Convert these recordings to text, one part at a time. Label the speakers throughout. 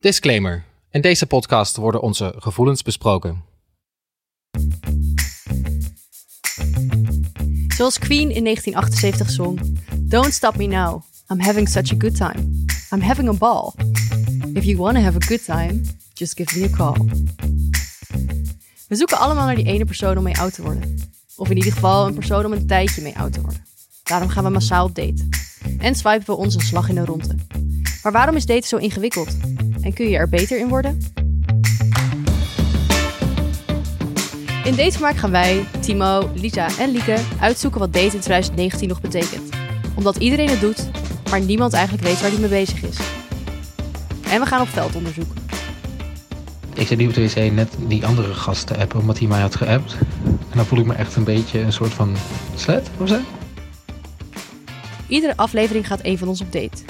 Speaker 1: Disclaimer. In deze podcast worden onze gevoelens besproken.
Speaker 2: Zoals Queen in 1978 zong: Don't stop me now. I'm having such a good time. I'm having a ball. If you want to have a good time, just give me a call. We zoeken allemaal naar die ene persoon om mee oud te worden. Of in ieder geval een persoon om een tijdje mee oud te worden. Daarom gaan we massaal op date. En swipen we ons een slag in de ronde. Maar waarom is daten zo ingewikkeld? En kun je er beter in worden? In Datevermaak gaan wij, Timo, Lisa en Lieke uitzoeken wat daten in 2019 nog betekent. Omdat iedereen het doet, maar niemand eigenlijk weet waar hij mee bezig is. En we gaan op veldonderzoek.
Speaker 3: Ik zit nu op de wc net die andere gast te appen, omdat hij mij had geappt. En dan voel ik me echt een beetje een soort van slet of zo.
Speaker 2: Iedere aflevering gaat een van ons op date.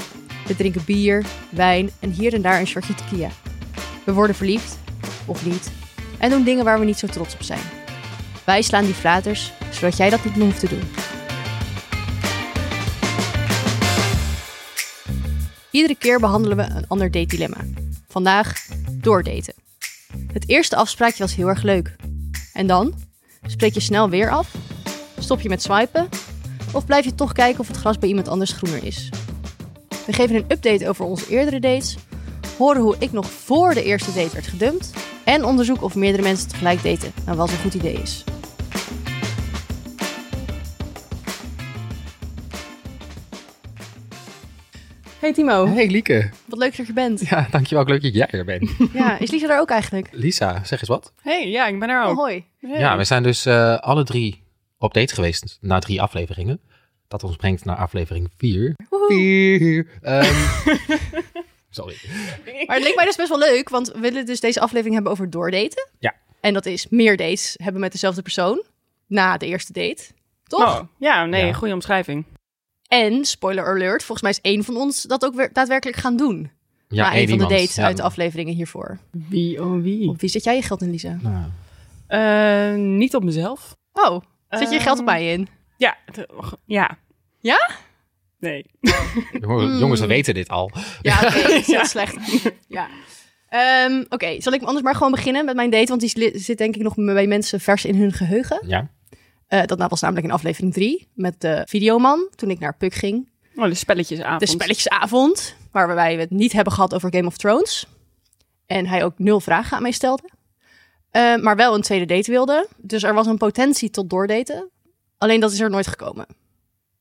Speaker 2: We drinken bier, wijn en hier en daar een shotje tequila. We worden verliefd, of niet, en doen dingen waar we niet zo trots op zijn. Wij slaan die flaters, zodat jij dat niet meer hoeft te doen. Iedere keer behandelen we een ander date dilemma. Vandaag doordaten. Het eerste afspraakje was heel erg leuk. En dan? Spreek je snel weer af? Stop je met swipen? Of blijf je toch kijken of het gras bij iemand anders groener is? We geven een update over onze eerdere dates, horen hoe ik nog voor de eerste date werd gedumpt en onderzoek of meerdere mensen tegelijk daten nou wel eens een goed idee is. Hey Timo,
Speaker 1: Hey Lieke.
Speaker 2: wat leuk dat je bent.
Speaker 1: Ja, dankjewel. Leuk dat jij er bent.
Speaker 2: Ja, is Lisa daar ook eigenlijk?
Speaker 1: Lisa, zeg eens wat.
Speaker 4: Hey, ja, ik ben er
Speaker 2: Oh,
Speaker 4: ook.
Speaker 2: hoi.
Speaker 4: Hey.
Speaker 1: Ja, we zijn dus eh, alle drie op date geweest na drie afleveringen. Dat ons brengt naar aflevering vier. Vier. Ehm, sorry.
Speaker 2: Maar het leek mij dus best wel leuk, want we willen dus deze aflevering hebben over doordaten.
Speaker 1: Ja.
Speaker 2: En dat is meer dates hebben met dezelfde persoon na de eerste date. Toch?
Speaker 4: Oh, ja, nee,
Speaker 1: Ja.
Speaker 4: goede omschrijving.
Speaker 2: En, spoiler alert, volgens mij is één van ons dat ook weer daadwerkelijk gaan doen.
Speaker 1: Ja,
Speaker 2: na
Speaker 1: één
Speaker 2: Ah, een van de
Speaker 1: iemand.
Speaker 2: dates
Speaker 1: Ja.
Speaker 2: uit de afleveringen hiervoor.
Speaker 4: Wie oh wie?
Speaker 2: Op wie zet jij je geld in, Lisa?
Speaker 1: Nou,
Speaker 4: Eh, niet op mezelf.
Speaker 2: Oh, zet je je geld op
Speaker 4: Ehm,
Speaker 2: mij in?
Speaker 4: Ja. het- och, ja.
Speaker 2: Ja?
Speaker 4: Nee.
Speaker 2: Hmm.
Speaker 1: jongen- Jongens, we weten dit al.
Speaker 2: Ja, oké, dat is heel
Speaker 4: Ja.
Speaker 2: slecht. Ja. Ehm, oké, zal ik anders maar gewoon beginnen met mijn date? Want die li- zit denk ik nog bij mensen vers in hun geheugen.
Speaker 1: Ja.
Speaker 2: Eh, dat nou was namelijk in aflevering 3 met de videoman. Toen ik naar Puk ging.
Speaker 4: Oh, de spelletjesavond.
Speaker 2: De spelletjesavond. Waarbij we het niet hebben gehad over Game of Thrones. En hij ook nul vragen aan mij stelde. Eh, maar wel een tweede date wilde. Dus er was een potentie tot doordaten. Alleen dat is er nooit gekomen.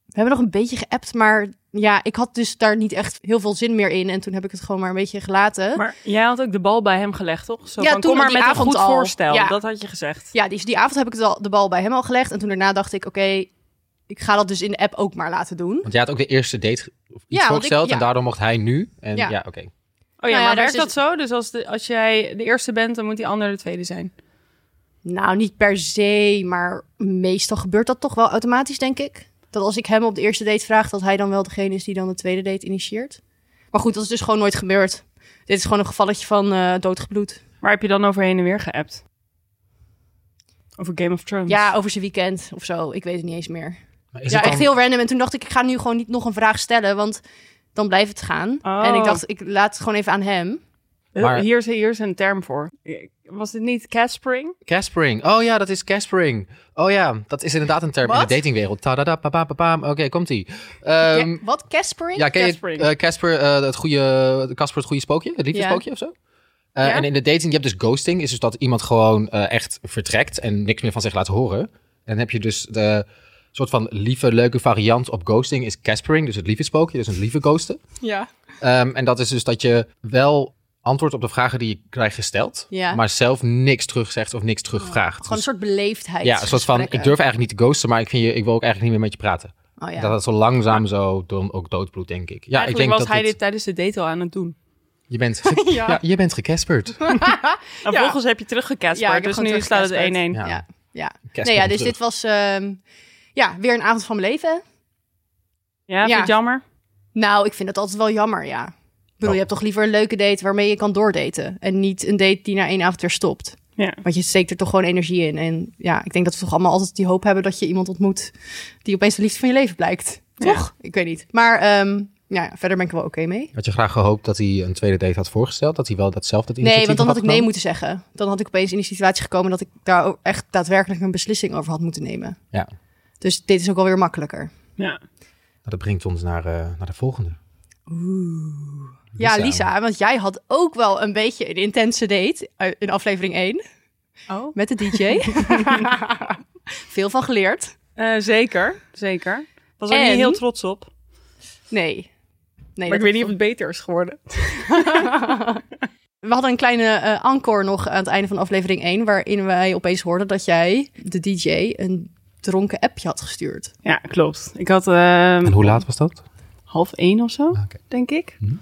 Speaker 2: We hebben nog een beetje geappt. Maar ja, ik had dus daar niet echt heel veel zin meer in. En toen heb ik het gewoon maar een beetje gelaten.
Speaker 4: Maar jij had ook de bal bij hem gelegd, toch? Zo
Speaker 2: Ja,
Speaker 4: van,
Speaker 2: toen
Speaker 4: kom maar
Speaker 2: die
Speaker 4: met een
Speaker 2: avond
Speaker 4: goed
Speaker 2: al.
Speaker 4: voorstel.
Speaker 2: Ja.
Speaker 4: Dat had je gezegd.
Speaker 2: Ja, die, die avond heb ik het al, de bal bij hem al gelegd. En toen daarna dacht ik, oké, ik ga dat dus in de app ook maar laten doen.
Speaker 1: Want jij had ook de eerste date ge- iets
Speaker 2: want ik-
Speaker 1: voorgesteld
Speaker 2: ja.
Speaker 1: en daardoor mocht hij nu. En ja,
Speaker 2: Ja.
Speaker 1: oké.
Speaker 4: Oh
Speaker 2: Nou
Speaker 4: ja,
Speaker 2: ja,
Speaker 4: maar
Speaker 2: daar
Speaker 4: werkt
Speaker 2: is-
Speaker 4: dat zo? Dus als, de, als jij de eerste bent, dan moet die ander de tweede zijn.
Speaker 2: Nou, niet per se, maar meestal gebeurt dat toch wel automatisch, denk ik. Dat als ik hem op de eerste date vraag, dat hij dan wel degene is die dan de tweede date initieert. Maar goed, dat is dus gewoon nooit gebeurd. Dit is gewoon een gevalletje van eh doodgebloed.
Speaker 4: Waar heb je dan overheen en weer geappt? Over Game of Thrones.
Speaker 2: Ja, over zijn weekend of zo. Ik weet het niet eens meer.
Speaker 1: Maar is
Speaker 2: ja,
Speaker 1: het dan-
Speaker 2: echt heel random. En toen dacht ik, ik ga nu gewoon niet nog een vraag stellen, want dan blijft het gaan.
Speaker 4: Oh.
Speaker 2: En ik dacht, ik laat het gewoon even aan hem.
Speaker 4: Eh,
Speaker 1: Maar-
Speaker 4: Hier, is, hier is een term voor. Was dit niet catspring?
Speaker 1: Caspering. Oh ja, dat is Caspering. Oh ja, dat is inderdaad een term in
Speaker 2: Wat?
Speaker 1: de datingwereld. Tadada, papa, papa. Oké, komt-ie. Ehm,
Speaker 2: Ja, wat, Caspering?
Speaker 1: ja, ken je
Speaker 4: Caspering.
Speaker 1: eh, Casper, eh, het goede, Casper het goede spookje? Het liefde
Speaker 2: Ja.
Speaker 1: spookje of zo? Eh,
Speaker 4: Ja.
Speaker 1: En in de dating, je hebt dus ghosting. Is dus dat iemand gewoon eh, echt vertrekt en niks meer van zich laat horen. En dan heb je dus de soort van lieve, leuke variant op ghosting is Caspering. Dus het lieve spookje, dus het lieve ghosten.
Speaker 2: Ja.
Speaker 1: Ehm, en dat is dus dat je wel antwoord op de vragen die je krijgt gesteld,
Speaker 2: Ja.
Speaker 1: maar zelf niks terugzegt of niks terugvraagt.
Speaker 2: Gewoon een
Speaker 1: Dus-
Speaker 2: soort beleefdheid.
Speaker 1: ja, een soort van, ik durf eigenlijk niet te ghosten, maar ik, vind je, ik wil ook eigenlijk niet meer met je praten.
Speaker 2: Oh, ja.
Speaker 1: Dat het zo langzaam zo dan ook doodbloedt, denk ik. Ja,
Speaker 4: Eigenlijk
Speaker 1: ik denk
Speaker 4: was
Speaker 1: dat
Speaker 4: hij
Speaker 1: dit-
Speaker 4: dit tijdens de date al aan het doen.
Speaker 1: Je bent, ge- ja.
Speaker 2: Ja.
Speaker 1: je bent gecasperd.
Speaker 4: En
Speaker 2: Ja.
Speaker 4: volgens heb je teruggecatsperd,
Speaker 2: Ja, ik heb
Speaker 4: dus
Speaker 2: gewoon
Speaker 4: nu staat het 1-1.
Speaker 2: teruggecatsperd.
Speaker 1: Ja.
Speaker 2: ja. ja.
Speaker 1: Casper
Speaker 2: Nee, ja,
Speaker 1: komt
Speaker 2: dus
Speaker 1: terug.
Speaker 2: dit was ehm, ja, weer een avond van mijn leven.
Speaker 4: Ja, vind je
Speaker 2: Ja.
Speaker 4: het jammer?
Speaker 2: Nou, ik vind dat altijd wel jammer, ja. Ik bedoel,
Speaker 1: Oh.
Speaker 2: je hebt toch liever een leuke date waarmee je kan doordaten. En niet een date die na één avond weer stopt.
Speaker 4: Ja.
Speaker 2: Want je steekt er toch gewoon energie in. En ja, ik denk dat we toch allemaal altijd die hoop hebben dat je iemand ontmoet... die opeens de liefde van je leven blijkt. Toch? Ik weet niet. Maar ehm, Nou ja, verder ben ik er wel oké mee.
Speaker 1: Had je graag gehoopt dat hij een tweede date had voorgesteld? Dat hij wel datzelfde
Speaker 2: Nee,
Speaker 1: initiatief
Speaker 2: want dan had ik nee
Speaker 1: genomen?
Speaker 2: moeten zeggen. Dan had ik opeens in die situatie gekomen dat ik daar ook echt daadwerkelijk een beslissing over had moeten nemen.
Speaker 1: Ja.
Speaker 2: Dus dit is ook alweer makkelijker.
Speaker 4: Ja.
Speaker 1: Nou, dat brengt ons naar, eh, naar de volgende.
Speaker 2: Ja, Lisa, want jij had ook wel een beetje een intense date eh, in aflevering 1
Speaker 4: Oh.
Speaker 2: met de DJ. Veel van geleerd.
Speaker 4: Eh, zeker, zeker. Was er
Speaker 2: En?
Speaker 4: niet heel trots op.
Speaker 2: Nee. nee
Speaker 4: maar
Speaker 2: dat-
Speaker 4: ik weet niet of het beter is geworden.
Speaker 2: We hadden een kleine eh, encore nog aan het einde van aflevering 1, waarin wij opeens hoorden dat jij de DJ een dronken appje had gestuurd.
Speaker 4: Ja, klopt. Ik had ehm,
Speaker 1: En hoe laat was dat?
Speaker 4: half één of zo,
Speaker 1: Ah, oké.
Speaker 4: denk ik.
Speaker 1: Mhm.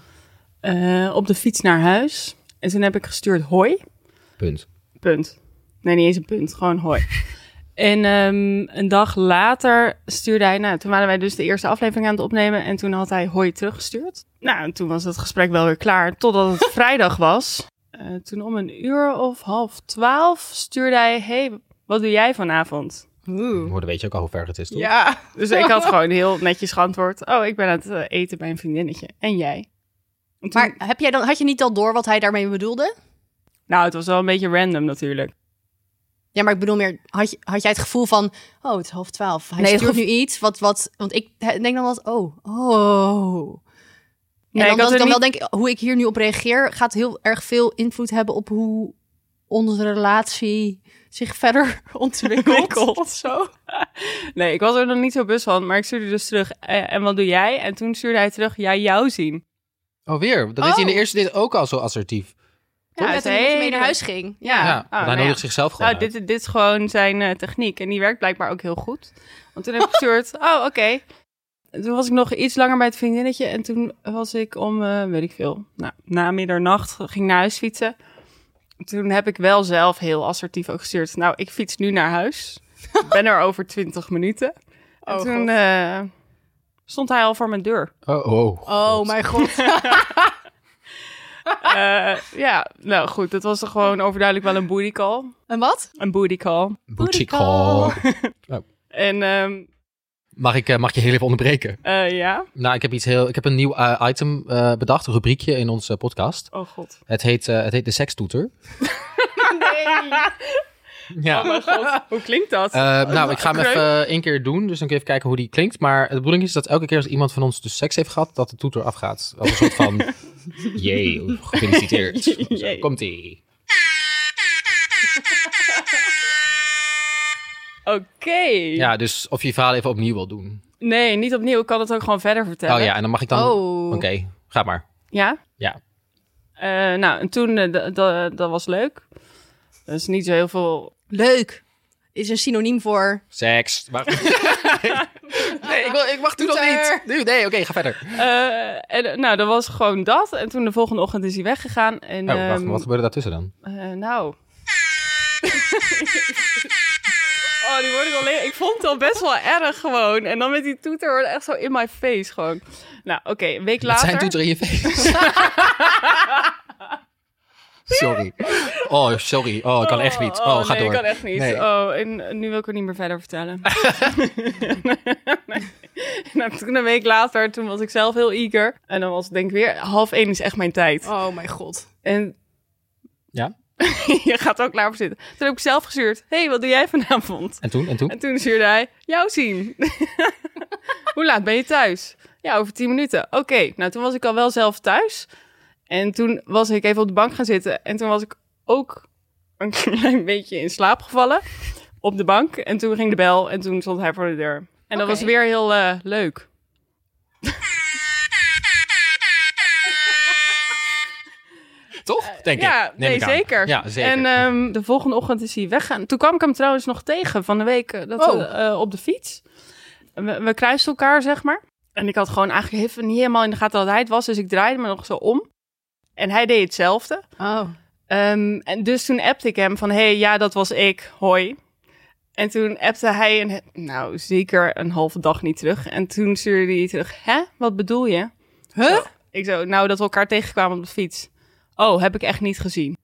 Speaker 4: Eh, op de fiets naar huis. En toen heb ik gestuurd hoi.
Speaker 1: Punt.
Speaker 4: Punt. Nee, niet eens een punt. Gewoon hoi. En ehm, een dag later stuurde hij... Nou, toen waren wij dus de eerste aflevering aan het opnemen. En toen had hij hoi teruggestuurd. Nou, en toen was dat gesprek wel weer klaar. Totdat het vrijdag was. Eh, toen om een uur of half twaalf stuurde hij... hey, wat doe jij vanavond?
Speaker 1: Dan hoorde- weet je ook al hoe ver het is, toch?
Speaker 4: Ja. Dus ik had gewoon heel netjes geantwoord. Oh, ik ben aan het eh, eten bij een vriendinnetje. En jij? En toen-
Speaker 2: Maar heb jij dan, had je niet al door wat hij daarmee bedoelde?
Speaker 4: Nou, het was wel een beetje random natuurlijk.
Speaker 2: Ja, maar ik bedoel meer, had, je, had jij het gevoel van, oh, het is half twaalf. Hij
Speaker 4: Nee, het
Speaker 2: stuurt nu iets, wat, wat, want ik he- denk dan wel, eens, oh, oh. En
Speaker 4: Nee,
Speaker 2: dan,
Speaker 4: ik
Speaker 2: als ik
Speaker 4: had er
Speaker 2: dan
Speaker 4: niet...
Speaker 2: wel denk, hoe ik hier nu op reageer, gaat heel erg veel invloed hebben op hoe onze relatie zich verder ontwikkelt
Speaker 4: Ontwikkelt.
Speaker 2: of zo.
Speaker 4: Nee, ik was er nog niet zo bewust van, maar ik stuurde dus terug. eh, en wat doe jij? En toen stuurde hij terug, ja, jou zien.
Speaker 1: Oh, weer. Dan is hij in de
Speaker 2: Oh.
Speaker 1: eerste date ook al zo assertief.
Speaker 4: Ja,
Speaker 2: Ja,
Speaker 4: het
Speaker 2: toen hij mee
Speaker 4: hele-
Speaker 2: naar huis ging.
Speaker 1: Ja,
Speaker 2: Ja.
Speaker 1: want hij
Speaker 4: nou
Speaker 1: nodigt
Speaker 4: ja.
Speaker 1: zichzelf gewoon
Speaker 4: Nou,
Speaker 1: uit.
Speaker 4: dit, dit is gewoon zijn eh, techniek. En die werkt blijkbaar ook heel goed. Want toen heb ik gestuurd, oh, oké. En Toen was ik nog iets langer bij het vriendinnetje. En toen was ik om, eh, weet ik veel, nou, na middernacht ging ik naar huis fietsen. Toen heb ik wel zelf heel assertief ook gestuurd. Nou, ik fiets nu naar huis. Ik ben er over twintig minuten. En
Speaker 2: Oh,
Speaker 4: toen
Speaker 2: God.
Speaker 4: eh, stond hij al voor mijn deur.
Speaker 1: Oh, oh.
Speaker 2: Oh, mijn god.
Speaker 4: Eh, ja, nou goed, dat was er gewoon overduidelijk wel een booty call.
Speaker 2: en wat?
Speaker 4: Een booty call.
Speaker 1: Booty
Speaker 2: call.
Speaker 1: call.
Speaker 4: En ehm,
Speaker 1: Mag ik, eh, mag ik je heel even onderbreken?
Speaker 4: eh, ja,
Speaker 1: Nou, ik heb iets heel... Ik heb een nieuw eh, item eh, bedacht, een rubriekje in onze podcast.
Speaker 4: oh god.
Speaker 1: Het heet, eh, het heet de sekstoeter. Ja.
Speaker 4: Oh mijn god, hoe klinkt dat?
Speaker 1: Eh, nou, ik ga hem
Speaker 4: Oké.
Speaker 1: even eh, één keer doen, dus dan kun je even kijken hoe die klinkt. Maar de bedoeling is dat elke keer als iemand van ons dus seks heeft gehad, dat de toeter afgaat. Als een soort van, jee, gefeliciteerd. Zo,
Speaker 4: Jee.
Speaker 1: Komt-ie.
Speaker 4: Oké.
Speaker 1: Ja, dus of je je verhaal even opnieuw wil doen.
Speaker 4: Nee, niet opnieuw, ik kan het ook gewoon verder vertellen.
Speaker 1: Oh ja, en dan mag ik dan...
Speaker 2: Oh.
Speaker 1: Oké, ga maar.
Speaker 4: Ja?
Speaker 1: Ja.
Speaker 4: Eh, nou, en toen, eh, d- d- dat was leuk. Dat is niet zo heel veel...
Speaker 2: Leuk. Is een synoniem voor...
Speaker 1: Seks. Maar... nee, ik, wil- ik mag toen nog
Speaker 2: Toeter.
Speaker 1: niet. Nu, nee, oké, ga verder.
Speaker 4: Eh, en, eh, nou, dat was gewoon dat. En toen de volgende ochtend is hij weggegaan. En,
Speaker 1: Oh, wacht,
Speaker 4: ehm,
Speaker 1: wat gebeurde daartussen dan?
Speaker 4: Eh, nou. Oh, die worden alleen. Ik vond het al best wel erg gewoon. En dan met die toeter wordt echt zo in my face gewoon. Nou, oké, een week
Speaker 1: Het
Speaker 4: later.
Speaker 1: zijn toeter in je face. sorry. Oh, sorry. Oh, ik kan echt niet. Oh, ga
Speaker 4: nee,
Speaker 1: door.
Speaker 4: kan echt niet.
Speaker 1: Nee.
Speaker 4: Oh, en eh, nu wil ik het niet meer verder vertellen. Nee. Nou, toen een week later, toen was ik zelf heel eager. En dan was het denk ik weer, half één is echt mijn tijd.
Speaker 2: Oh mijn god.
Speaker 4: En
Speaker 1: Ja?
Speaker 4: je gaat er ook klaar voor zitten. Toen heb ik zelf gestuurd, hey, wat doe jij vanavond?
Speaker 1: En toen? En toen?
Speaker 4: En toen stuurde hij, jou zien. Hoe laat ben je thuis? Ja, over tien minuten. Oké, nou toen was ik al wel zelf thuis. En toen was ik even op de bank gaan zitten. En toen was ik ook een klein beetje in slaap gevallen op de bank. En toen ging de bel en toen stond hij voor de deur. En dat
Speaker 2: Oké.
Speaker 4: was weer heel eh, leuk.
Speaker 1: Toch? Denk ik.
Speaker 4: Eh, ja,
Speaker 1: Neem
Speaker 4: nee,
Speaker 1: ik aan.
Speaker 4: zeker.
Speaker 1: Ja, zeker.
Speaker 4: En ehm, de volgende ochtend is hij weggaan. Toen kwam ik hem trouwens nog tegen van de week eh, dat we,
Speaker 2: Oh.
Speaker 4: eh, op de fiets. We, we kruisten elkaar, zeg maar. En ik had gewoon eigenlijk even niet helemaal in de gaten dat hij het was. Dus ik draaide me nog zo om. En hij deed hetzelfde.
Speaker 2: Oh.
Speaker 4: Ehm, en dus toen appte ik hem van, hey, ja, dat was ik. Hoi. En toen appte hij, een, nou, zeker een halve dag niet terug. En toen stuurde hij terug, hè, wat bedoel je?
Speaker 2: Huh?
Speaker 4: Ik zo, nou, dat we elkaar tegenkwamen op de fiets. Oh, heb ik echt niet gezien.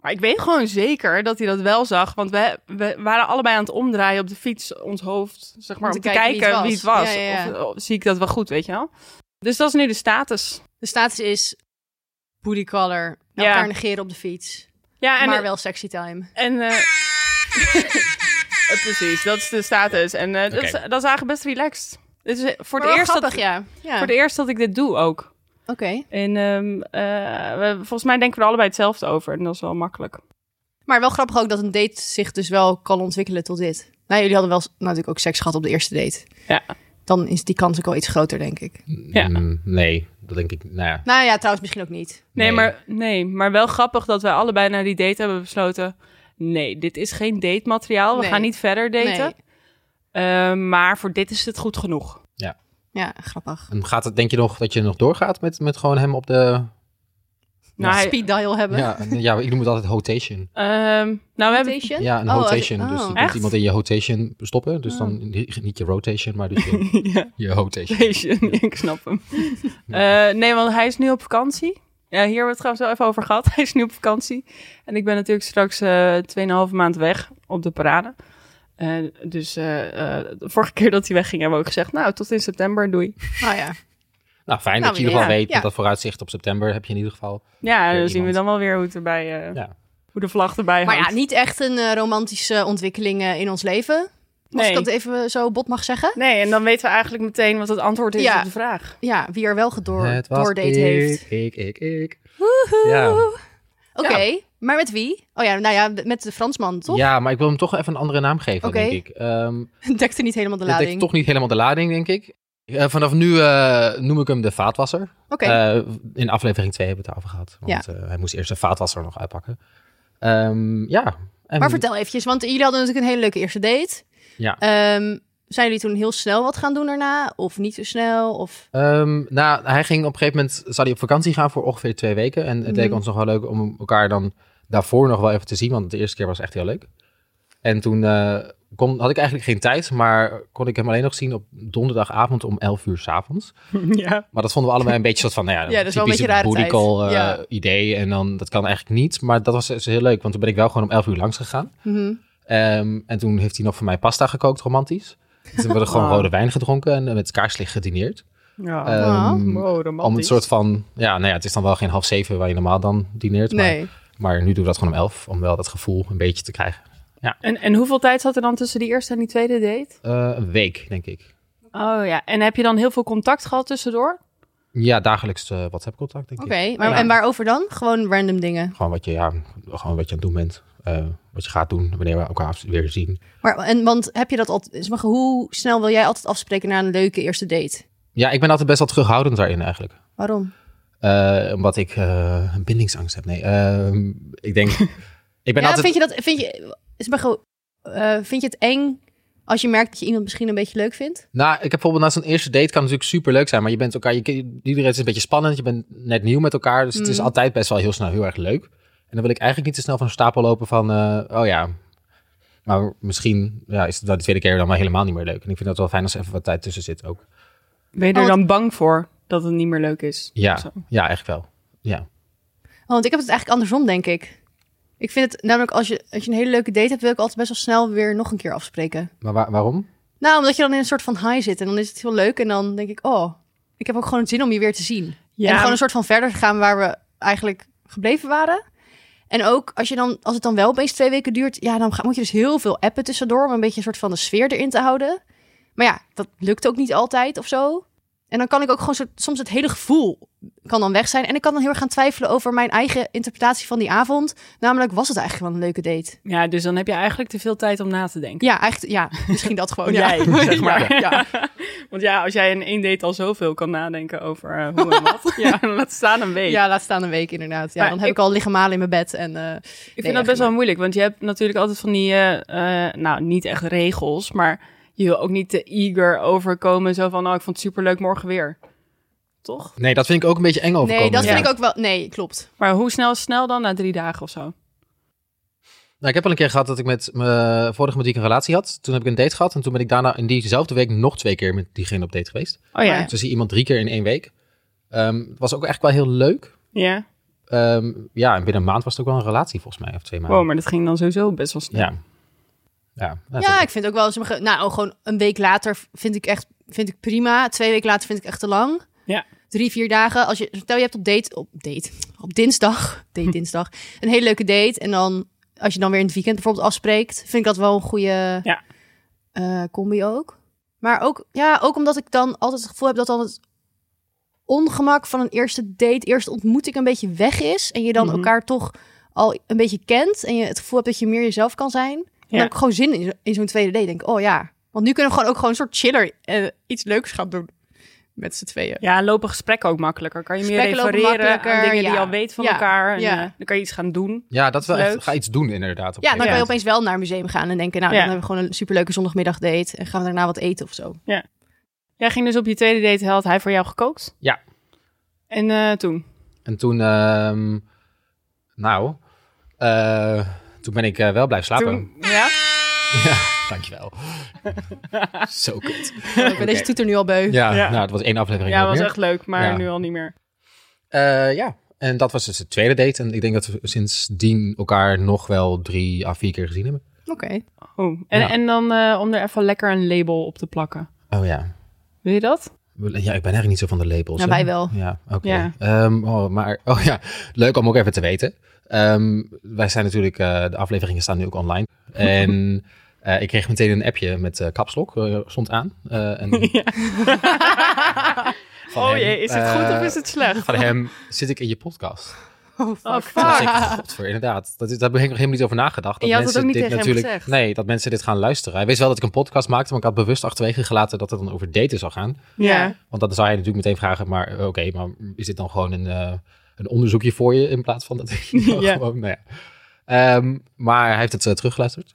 Speaker 4: Maar ik weet gewoon zeker dat hij dat wel zag. Want we, we waren allebei aan het omdraaien op de fiets, ons hoofd, zeg maar, om te, kijken wie het was.
Speaker 2: Ja, ja, ja.
Speaker 4: Of, of zie ik dat wel goed, weet je wel? Dus dat is nu de status.
Speaker 2: De status is booty color,
Speaker 4: Ja.
Speaker 2: elkaar negeren op de fiets,
Speaker 4: Ja, en,
Speaker 2: maar wel sexy time.
Speaker 4: en eh, precies, dat is de status. En eh, dat, is,
Speaker 1: Oké.
Speaker 4: dat is eigenlijk best relaxed. Dit is eh, voor
Speaker 2: Maar
Speaker 4: het
Speaker 2: wel
Speaker 4: eerst dat,
Speaker 2: grappig, ja. ja.
Speaker 4: voor het eerst dat ik dit doe ook.
Speaker 2: Oké.
Speaker 4: En ehm, eh, we, volgens mij denken we er allebei hetzelfde over. En dat is wel makkelijk.
Speaker 2: Maar wel grappig ook dat een date zich dus wel kan ontwikkelen tot dit. Nou, jullie hadden wel s- natuurlijk ook seks gehad op de eerste date.
Speaker 4: Ja.
Speaker 2: Dan is die kans ook wel iets groter, denk ik.
Speaker 4: Ja.
Speaker 1: Mm, nee, dat denk ik. Nou ja.
Speaker 2: Nou ja, trouwens misschien ook niet.
Speaker 4: Nee,
Speaker 1: Nee.
Speaker 4: Maar, nee, maar wel grappig dat wij allebei na die date hebben besloten... Nee, dit is geen datemateriaal. We
Speaker 2: Nee.
Speaker 4: gaan niet verder daten.
Speaker 2: Nee.
Speaker 4: Eh, maar voor dit is het goed genoeg.
Speaker 2: Ja, grappig.
Speaker 1: En gaat het, denk je nog dat je nog doorgaat met, met gewoon hem op de.
Speaker 4: Nou, hij-
Speaker 2: Speed dial hebben.
Speaker 1: Ja, en- ja, ik noem het altijd hotation.
Speaker 4: ehm, nou we hebben...
Speaker 2: Rotation?
Speaker 1: Ja, een
Speaker 2: Oh, als-
Speaker 1: hotation. Dus
Speaker 2: oh.
Speaker 1: dan
Speaker 4: Echt? Oh.
Speaker 1: moet iemand in je hotation stoppen. Dus dan niet niet je rotation, maar dus je,
Speaker 4: Ja,
Speaker 1: je hotation.
Speaker 4: Station, ik snap hem. Eh, nee, want hij is nu op vakantie. Ja, hier hebben we het trouwens wel even over gehad. Hij is nu op vakantie. En ik ben natuurlijk straks eh 2,5 maand weg op de parade. Eh, dus eh, eh, de vorige keer dat hij wegging hebben we ook gezegd... Nou, tot in september, doei.
Speaker 2: Oh ja.
Speaker 1: Nou, fijn
Speaker 2: Nou,
Speaker 1: dat je in ieder
Speaker 2: ja,
Speaker 1: geval weet
Speaker 2: ja.
Speaker 1: dat dat vooruitzicht op september heb je in ieder geval.
Speaker 4: Ja, dan
Speaker 1: Weer
Speaker 4: zien we
Speaker 1: iemand.
Speaker 4: dan wel weer hoe, het erbij, eh,
Speaker 1: Ja.
Speaker 4: hoe de vlag erbij
Speaker 2: Maar
Speaker 4: hangt.
Speaker 2: ja, niet echt een eh, romantische ontwikkeling eh, in ons leven. Als
Speaker 4: Nee.
Speaker 2: ik dat even zo bot mag zeggen.
Speaker 4: Nee, en dan weten we eigenlijk meteen wat het antwoord is
Speaker 2: Ja.
Speaker 4: op de vraag.
Speaker 2: Ja, wie er wel gedoord
Speaker 1: het was
Speaker 2: doordate
Speaker 1: ik,
Speaker 2: heeft.
Speaker 1: ik, ik, ik.
Speaker 2: Woehoe.
Speaker 1: Ja.
Speaker 2: Oké, maar met wie? Oh ja, nou ja, met de Fransman, toch?
Speaker 1: Ja, maar ik wil hem toch even een andere naam geven,
Speaker 2: Oké.
Speaker 1: denk ik. Ehm
Speaker 2: Dekte niet helemaal de
Speaker 1: dat
Speaker 2: lading.
Speaker 1: dekt toch niet helemaal de lading, denk ik. Eh, vanaf nu eh, noem ik hem de vaatwasser.
Speaker 2: Oké,
Speaker 1: Eh, in aflevering 2 hebben we het daarover gehad. Want eh, hij moest eerst de vaatwasser nog uitpakken. Ehm, ja. En-
Speaker 2: maar vertel eventjes, want jullie hadden natuurlijk een hele leuke eerste date.
Speaker 1: Ja.
Speaker 2: Ehm, zijn jullie toen heel snel wat gaan doen daarna? Of niet zo snel? Of...
Speaker 1: Ehm, nou, hij ging op een gegeven moment, zou hij op vakantie gaan voor ongeveer twee weken. En het leek
Speaker 2: Mhm.
Speaker 1: ons nog wel leuk om elkaar dan daarvoor nog wel even te zien, want de eerste keer was echt heel leuk. En toen eh, kon, had ik eigenlijk geen tijd, maar kon ik hem alleen nog zien op donderdagavond om 11 uur s'avonds.
Speaker 4: ja.
Speaker 1: Maar dat vonden we allebei een beetje soort van, nou ja,
Speaker 2: Ja, dat is wel een
Speaker 1: typisch
Speaker 2: beetje een rare
Speaker 1: booty call,
Speaker 2: tijd.
Speaker 1: eh, idee. En dan, dat kan eigenlijk niet, maar dat was dus heel leuk, want toen ben ik wel gewoon om 11 uur langs gegaan.
Speaker 2: Mhm.
Speaker 1: Ehm, en toen heeft hij nog voor mij pasta gekookt, romantisch. Dus toen hebben we gewoon
Speaker 4: Wow.
Speaker 1: rode wijn gedronken en met kaarslicht gedineerd.
Speaker 4: ja.
Speaker 1: Ehm,
Speaker 4: wow,
Speaker 1: om een
Speaker 4: romantisch.
Speaker 1: soort van, ja, nou ja, het is dan wel geen half zeven waar je normaal dan dineert. Maar,
Speaker 2: Nee.
Speaker 1: maar nu doen we dat gewoon om elf, om wel dat gevoel een beetje te krijgen.
Speaker 4: En, en hoeveel tijd zat er dan tussen die eerste en die tweede date?
Speaker 1: Eh, een week, denk ik.
Speaker 4: Oh ja, en heb je dan heel veel contact gehad tussendoor?
Speaker 1: Ja, dagelijks eh WhatsApp-contact, denk
Speaker 2: Oké,
Speaker 1: ik.
Speaker 2: maar
Speaker 1: Ja.
Speaker 2: en waarover dan? Gewoon random dingen.
Speaker 1: Gewoon wat je, ja, gewoon wat je aan het doen bent. eh, wat je gaat doen, wanneer we elkaar weer zien.
Speaker 2: Maar, en, want heb je dat altijd... Maar hoe snel wil jij altijd afspreken na een leuke eerste date?
Speaker 1: Ja, ik ben altijd best wel terughoudend daarin eigenlijk.
Speaker 2: Waarom?
Speaker 1: Eh, omdat ik eh, een bindingsangst heb. Nee, ehm, ik denk... ik ben
Speaker 2: ja,
Speaker 1: altijd...
Speaker 2: vind je dat... Vind je, is maar gewoon, eh, vind je het eng als je merkt dat je iemand misschien een beetje leuk vindt?
Speaker 1: Nou, ik heb bijvoorbeeld na zo'n eerste date kan natuurlijk super leuk zijn, maar je bent elkaar, je, ken- iedereen is een beetje spannend, je bent net nieuw met elkaar, dus het is
Speaker 2: Mm.
Speaker 1: altijd best wel heel snel heel erg leuk. En dan wil ik eigenlijk niet te snel van een stapel lopen van, eh, oh ja, maar misschien ja, is het wel de tweede keer dan wel helemaal niet meer leuk. En ik vind het wel fijn als er even wat tijd tussen zit ook.
Speaker 4: Ben je
Speaker 2: Oh,
Speaker 4: er
Speaker 2: wat-
Speaker 4: dan bang voor dat het niet meer leuk is?
Speaker 1: Ja,
Speaker 4: Zo.
Speaker 1: ja, eigenlijk wel. Ja.
Speaker 2: Oh, want ik heb het eigenlijk andersom, denk ik. Ik vind het namelijk, als je, als je een hele leuke date hebt, wil ik altijd best wel snel weer nog een keer afspreken.
Speaker 1: Maar waar- waarom?
Speaker 2: Nou, omdat je dan in een soort van high zit en dan is het heel leuk en dan denk ik, oh, ik heb ook gewoon zin om je weer te zien. En gewoon een soort van verder te gaan waar we eigenlijk gebleven waren. En ook als, je dan, als het dan wel opeens twee weken duurt, ja, dan ga- moet je dus heel veel appen tussendoor om een beetje een soort van de sfeer erin te houden. Maar ja, dat lukt ook niet altijd of zo. En dan kan ik ook gewoon soort- soms het hele gevoel kan dan weg zijn. En ik kan dan heel erg gaan twijfelen over mijn eigen interpretatie van die avond. Namelijk, was het eigenlijk wel een leuke date?
Speaker 4: ja, dus dan heb je eigenlijk te veel tijd om na te denken.
Speaker 2: Ja, eigenlijk, ja, misschien dat gewoon. ja.
Speaker 4: Jij, zeg maar.
Speaker 2: Ja, ja.
Speaker 4: Want ja, als jij in één date al zoveel kan nadenken over eh, hoe en wat, ja. laat staan een week.
Speaker 2: Ja, laat staan een week inderdaad. Ja,
Speaker 4: Maar
Speaker 2: dan heb
Speaker 4: ik-
Speaker 2: ik al liggen malen in mijn bed. En, eh,
Speaker 4: Ik
Speaker 2: Nee,
Speaker 4: vind dat
Speaker 2: echt
Speaker 4: best wel moeilijk, want je hebt natuurlijk altijd van die, eh, eh, nou niet echt regels, maar je wil ook niet te eager overkomen. Zo van, nou ik vond het superleuk, morgen weer. Toch?
Speaker 1: Nee, dat vind ik ook een beetje eng overkomen.
Speaker 2: nee, dat
Speaker 1: ja.
Speaker 2: vind ik ook wel... Nee, klopt.
Speaker 4: Maar hoe snel is snel dan? Na drie dagen of zo?
Speaker 1: Nou, ik heb al een keer gehad dat ik met mijn vorige met die ik een relatie had. Toen heb ik een date gehad en toen ben ik daarna in diezelfde week nog twee keer met diegene op date geweest.
Speaker 4: Oh ja.
Speaker 2: ja.
Speaker 1: Dus dan zie je iemand drie keer in één week. Ehm, het was ook echt wel heel leuk.
Speaker 4: Ja.
Speaker 1: Ehm, ja, en binnen een maand was het ook wel een relatie volgens mij, of twee maanden.
Speaker 4: Wow, maar dat ging dan sowieso best wel snel.
Speaker 1: Ja. Ja, nou,
Speaker 2: ja,
Speaker 1: dat-
Speaker 2: ik vind ook wel... oh, sommige- Nou, gewoon een week later vind ik echt vind ik prima. Twee weken later vind ik echt te lang.
Speaker 4: Ja.
Speaker 2: drie, vier dagen. Als je, stel je hebt op date, op date, op dinsdag, date dinsdag, een hele leuke date. En dan, als je dan weer in het weekend bijvoorbeeld afspreekt, vind ik dat wel een goede
Speaker 4: Ja.
Speaker 2: eh, combi ook. Maar ook, ja, ook omdat ik dan altijd het gevoel heb dat dan het ongemak van een eerste date, eerste ontmoeting een beetje weg is. En je dan
Speaker 4: Mhm.
Speaker 2: elkaar toch al een beetje kent. En je het gevoel hebt dat je meer jezelf kan zijn. En
Speaker 4: Ja.
Speaker 2: dan heb ik gewoon zin in, zo- in zo'n tweede date. Denk ik, oh ja. Want nu kunnen we gewoon ook gewoon een soort chiller eh, iets leuks gaan doen. Met z'n tweeën.
Speaker 4: Ja, en lopen gesprekken ook makkelijker. Kan je meer
Speaker 2: Gesprekken lopen
Speaker 4: refereren aan
Speaker 2: makkelijker,
Speaker 4: dingen die je
Speaker 2: ja.
Speaker 4: al weet van
Speaker 2: Ja,
Speaker 4: elkaar. En,
Speaker 2: ja.
Speaker 4: eh, dan kan je iets gaan doen.
Speaker 1: Ja, dat is wel
Speaker 4: Leuk.
Speaker 1: echt. Ga iets doen inderdaad. op
Speaker 2: Ja,
Speaker 1: een
Speaker 2: dan kan je
Speaker 1: gegeven
Speaker 2: opeens wel naar een museum gaan en denken, nou,
Speaker 4: Ja.
Speaker 2: dan hebben we gewoon een superleuke zondagmiddagdate en gaan we daarna wat eten of zo.
Speaker 4: Jij ging dus op je tweede date, had hij voor jou gekookt?
Speaker 1: Ja.
Speaker 4: En eh, toen?
Speaker 1: moment. En toen, ehm, nou, eh, toen ben ik eh, wel blijven slapen.
Speaker 4: toen ja?
Speaker 1: Ja, dankjewel. Zo kut.
Speaker 2: Ik ben deze toeter nu al beu.
Speaker 1: Ja,
Speaker 4: Ja.
Speaker 1: nou, het was één aflevering.
Speaker 4: ja,
Speaker 1: niet
Speaker 4: was
Speaker 1: meer.
Speaker 4: echt leuk, maar
Speaker 1: Ja.
Speaker 4: nu al niet meer.
Speaker 1: Eh, ja, en dat was dus de tweede date. En ik denk dat we sindsdien elkaar nog wel drie à vier keer gezien hebben.
Speaker 2: Oké.
Speaker 4: Oh. En,
Speaker 1: Ja.
Speaker 4: en dan eh, om er even lekker een label op te plakken.
Speaker 1: Oh ja.
Speaker 4: Wil je dat?
Speaker 1: Ja, ik ben eigenlijk niet zo van de labels.
Speaker 2: Nou,
Speaker 1: hè?
Speaker 2: wij wel.
Speaker 1: Ja, oké.
Speaker 4: Ja.
Speaker 1: Ehm, oh, maar, oh ja, leuk om ook even te weten. Ehm, wij zijn natuurlijk, eh, de afleveringen staan nu ook online. En eh, ik kreeg meteen een appje met eh kapslok, eh, stond aan. Eh, en van
Speaker 4: oh
Speaker 1: hem,
Speaker 4: jee, is het goed
Speaker 1: eh,
Speaker 4: of is het slecht?
Speaker 1: Van hem zit ik in je podcast.
Speaker 2: Oh,
Speaker 4: Oh,
Speaker 2: fuck.
Speaker 1: Toen dacht ik,
Speaker 4: fuck.
Speaker 1: godver, inderdaad. Dat, is- daar heb ik helemaal niet over nagedacht.
Speaker 4: En je had het ook niet tegen hem gezegd?
Speaker 1: Nee, dat mensen dit gaan luisteren. Hij wist wel dat ik een podcast maakte, maar ik had bewust achterwege gelaten dat het dan over daten zou gaan.
Speaker 4: Ja.
Speaker 1: Want dan zou hij natuurlijk meteen vragen, maar eh, oké, maar is dit dan gewoon een, eh, een onderzoekje voor je in plaats van dat ik nou
Speaker 4: Ja.
Speaker 1: gewoon, nou ja. Ehm, maar hij heeft het eh, teruggeluisterd.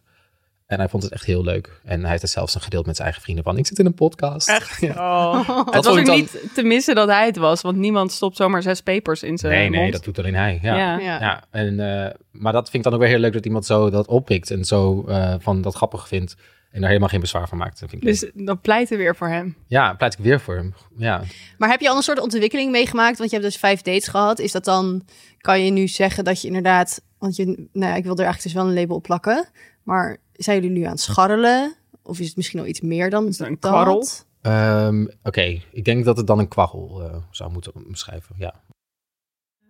Speaker 1: En hij vond het echt heel leuk. En hij heeft het zelfs nog gedeeld met zijn eigen vrienden van, ik zit in een podcast.
Speaker 4: Echt?
Speaker 1: Ja.
Speaker 4: Oh.
Speaker 1: vond
Speaker 4: Het was
Speaker 1: ik
Speaker 4: ook
Speaker 1: dan-
Speaker 4: niet te missen dat hij het was, want niemand stopt zomaar zes papers in zijn
Speaker 1: Nee,
Speaker 4: mond.
Speaker 1: nee, dat doet alleen hij.
Speaker 4: ja.
Speaker 1: Ja.
Speaker 4: Ja.
Speaker 2: Ja.
Speaker 1: Ja, en, eh, maar dat vind ik dan ook weer heel leuk dat iemand zo dat oppikt en zo eh, van dat grappig vindt en daar helemaal geen bezwaar van maakt. Dat vind ik leuk.
Speaker 4: Dus dan pleiten weer voor hem.
Speaker 1: Ja, pleit ik weer voor hem. Ja.
Speaker 2: Maar heb je al een soort ontwikkeling meegemaakt? Want je hebt dus vijf dates gehad. Is dat dan, kan je nu zeggen dat je inderdaad, want je, nou ja, ik wil er eigenlijk dus wel een label op plakken. Maar zijn jullie nu aan het scharrelen? Of is het misschien al iets meer dan
Speaker 4: het een
Speaker 2: dat?
Speaker 4: kwarrel?
Speaker 1: Ehm, Oké, ik denk dat het dan een kwarrel eh, zou moeten beschrijven. Ja.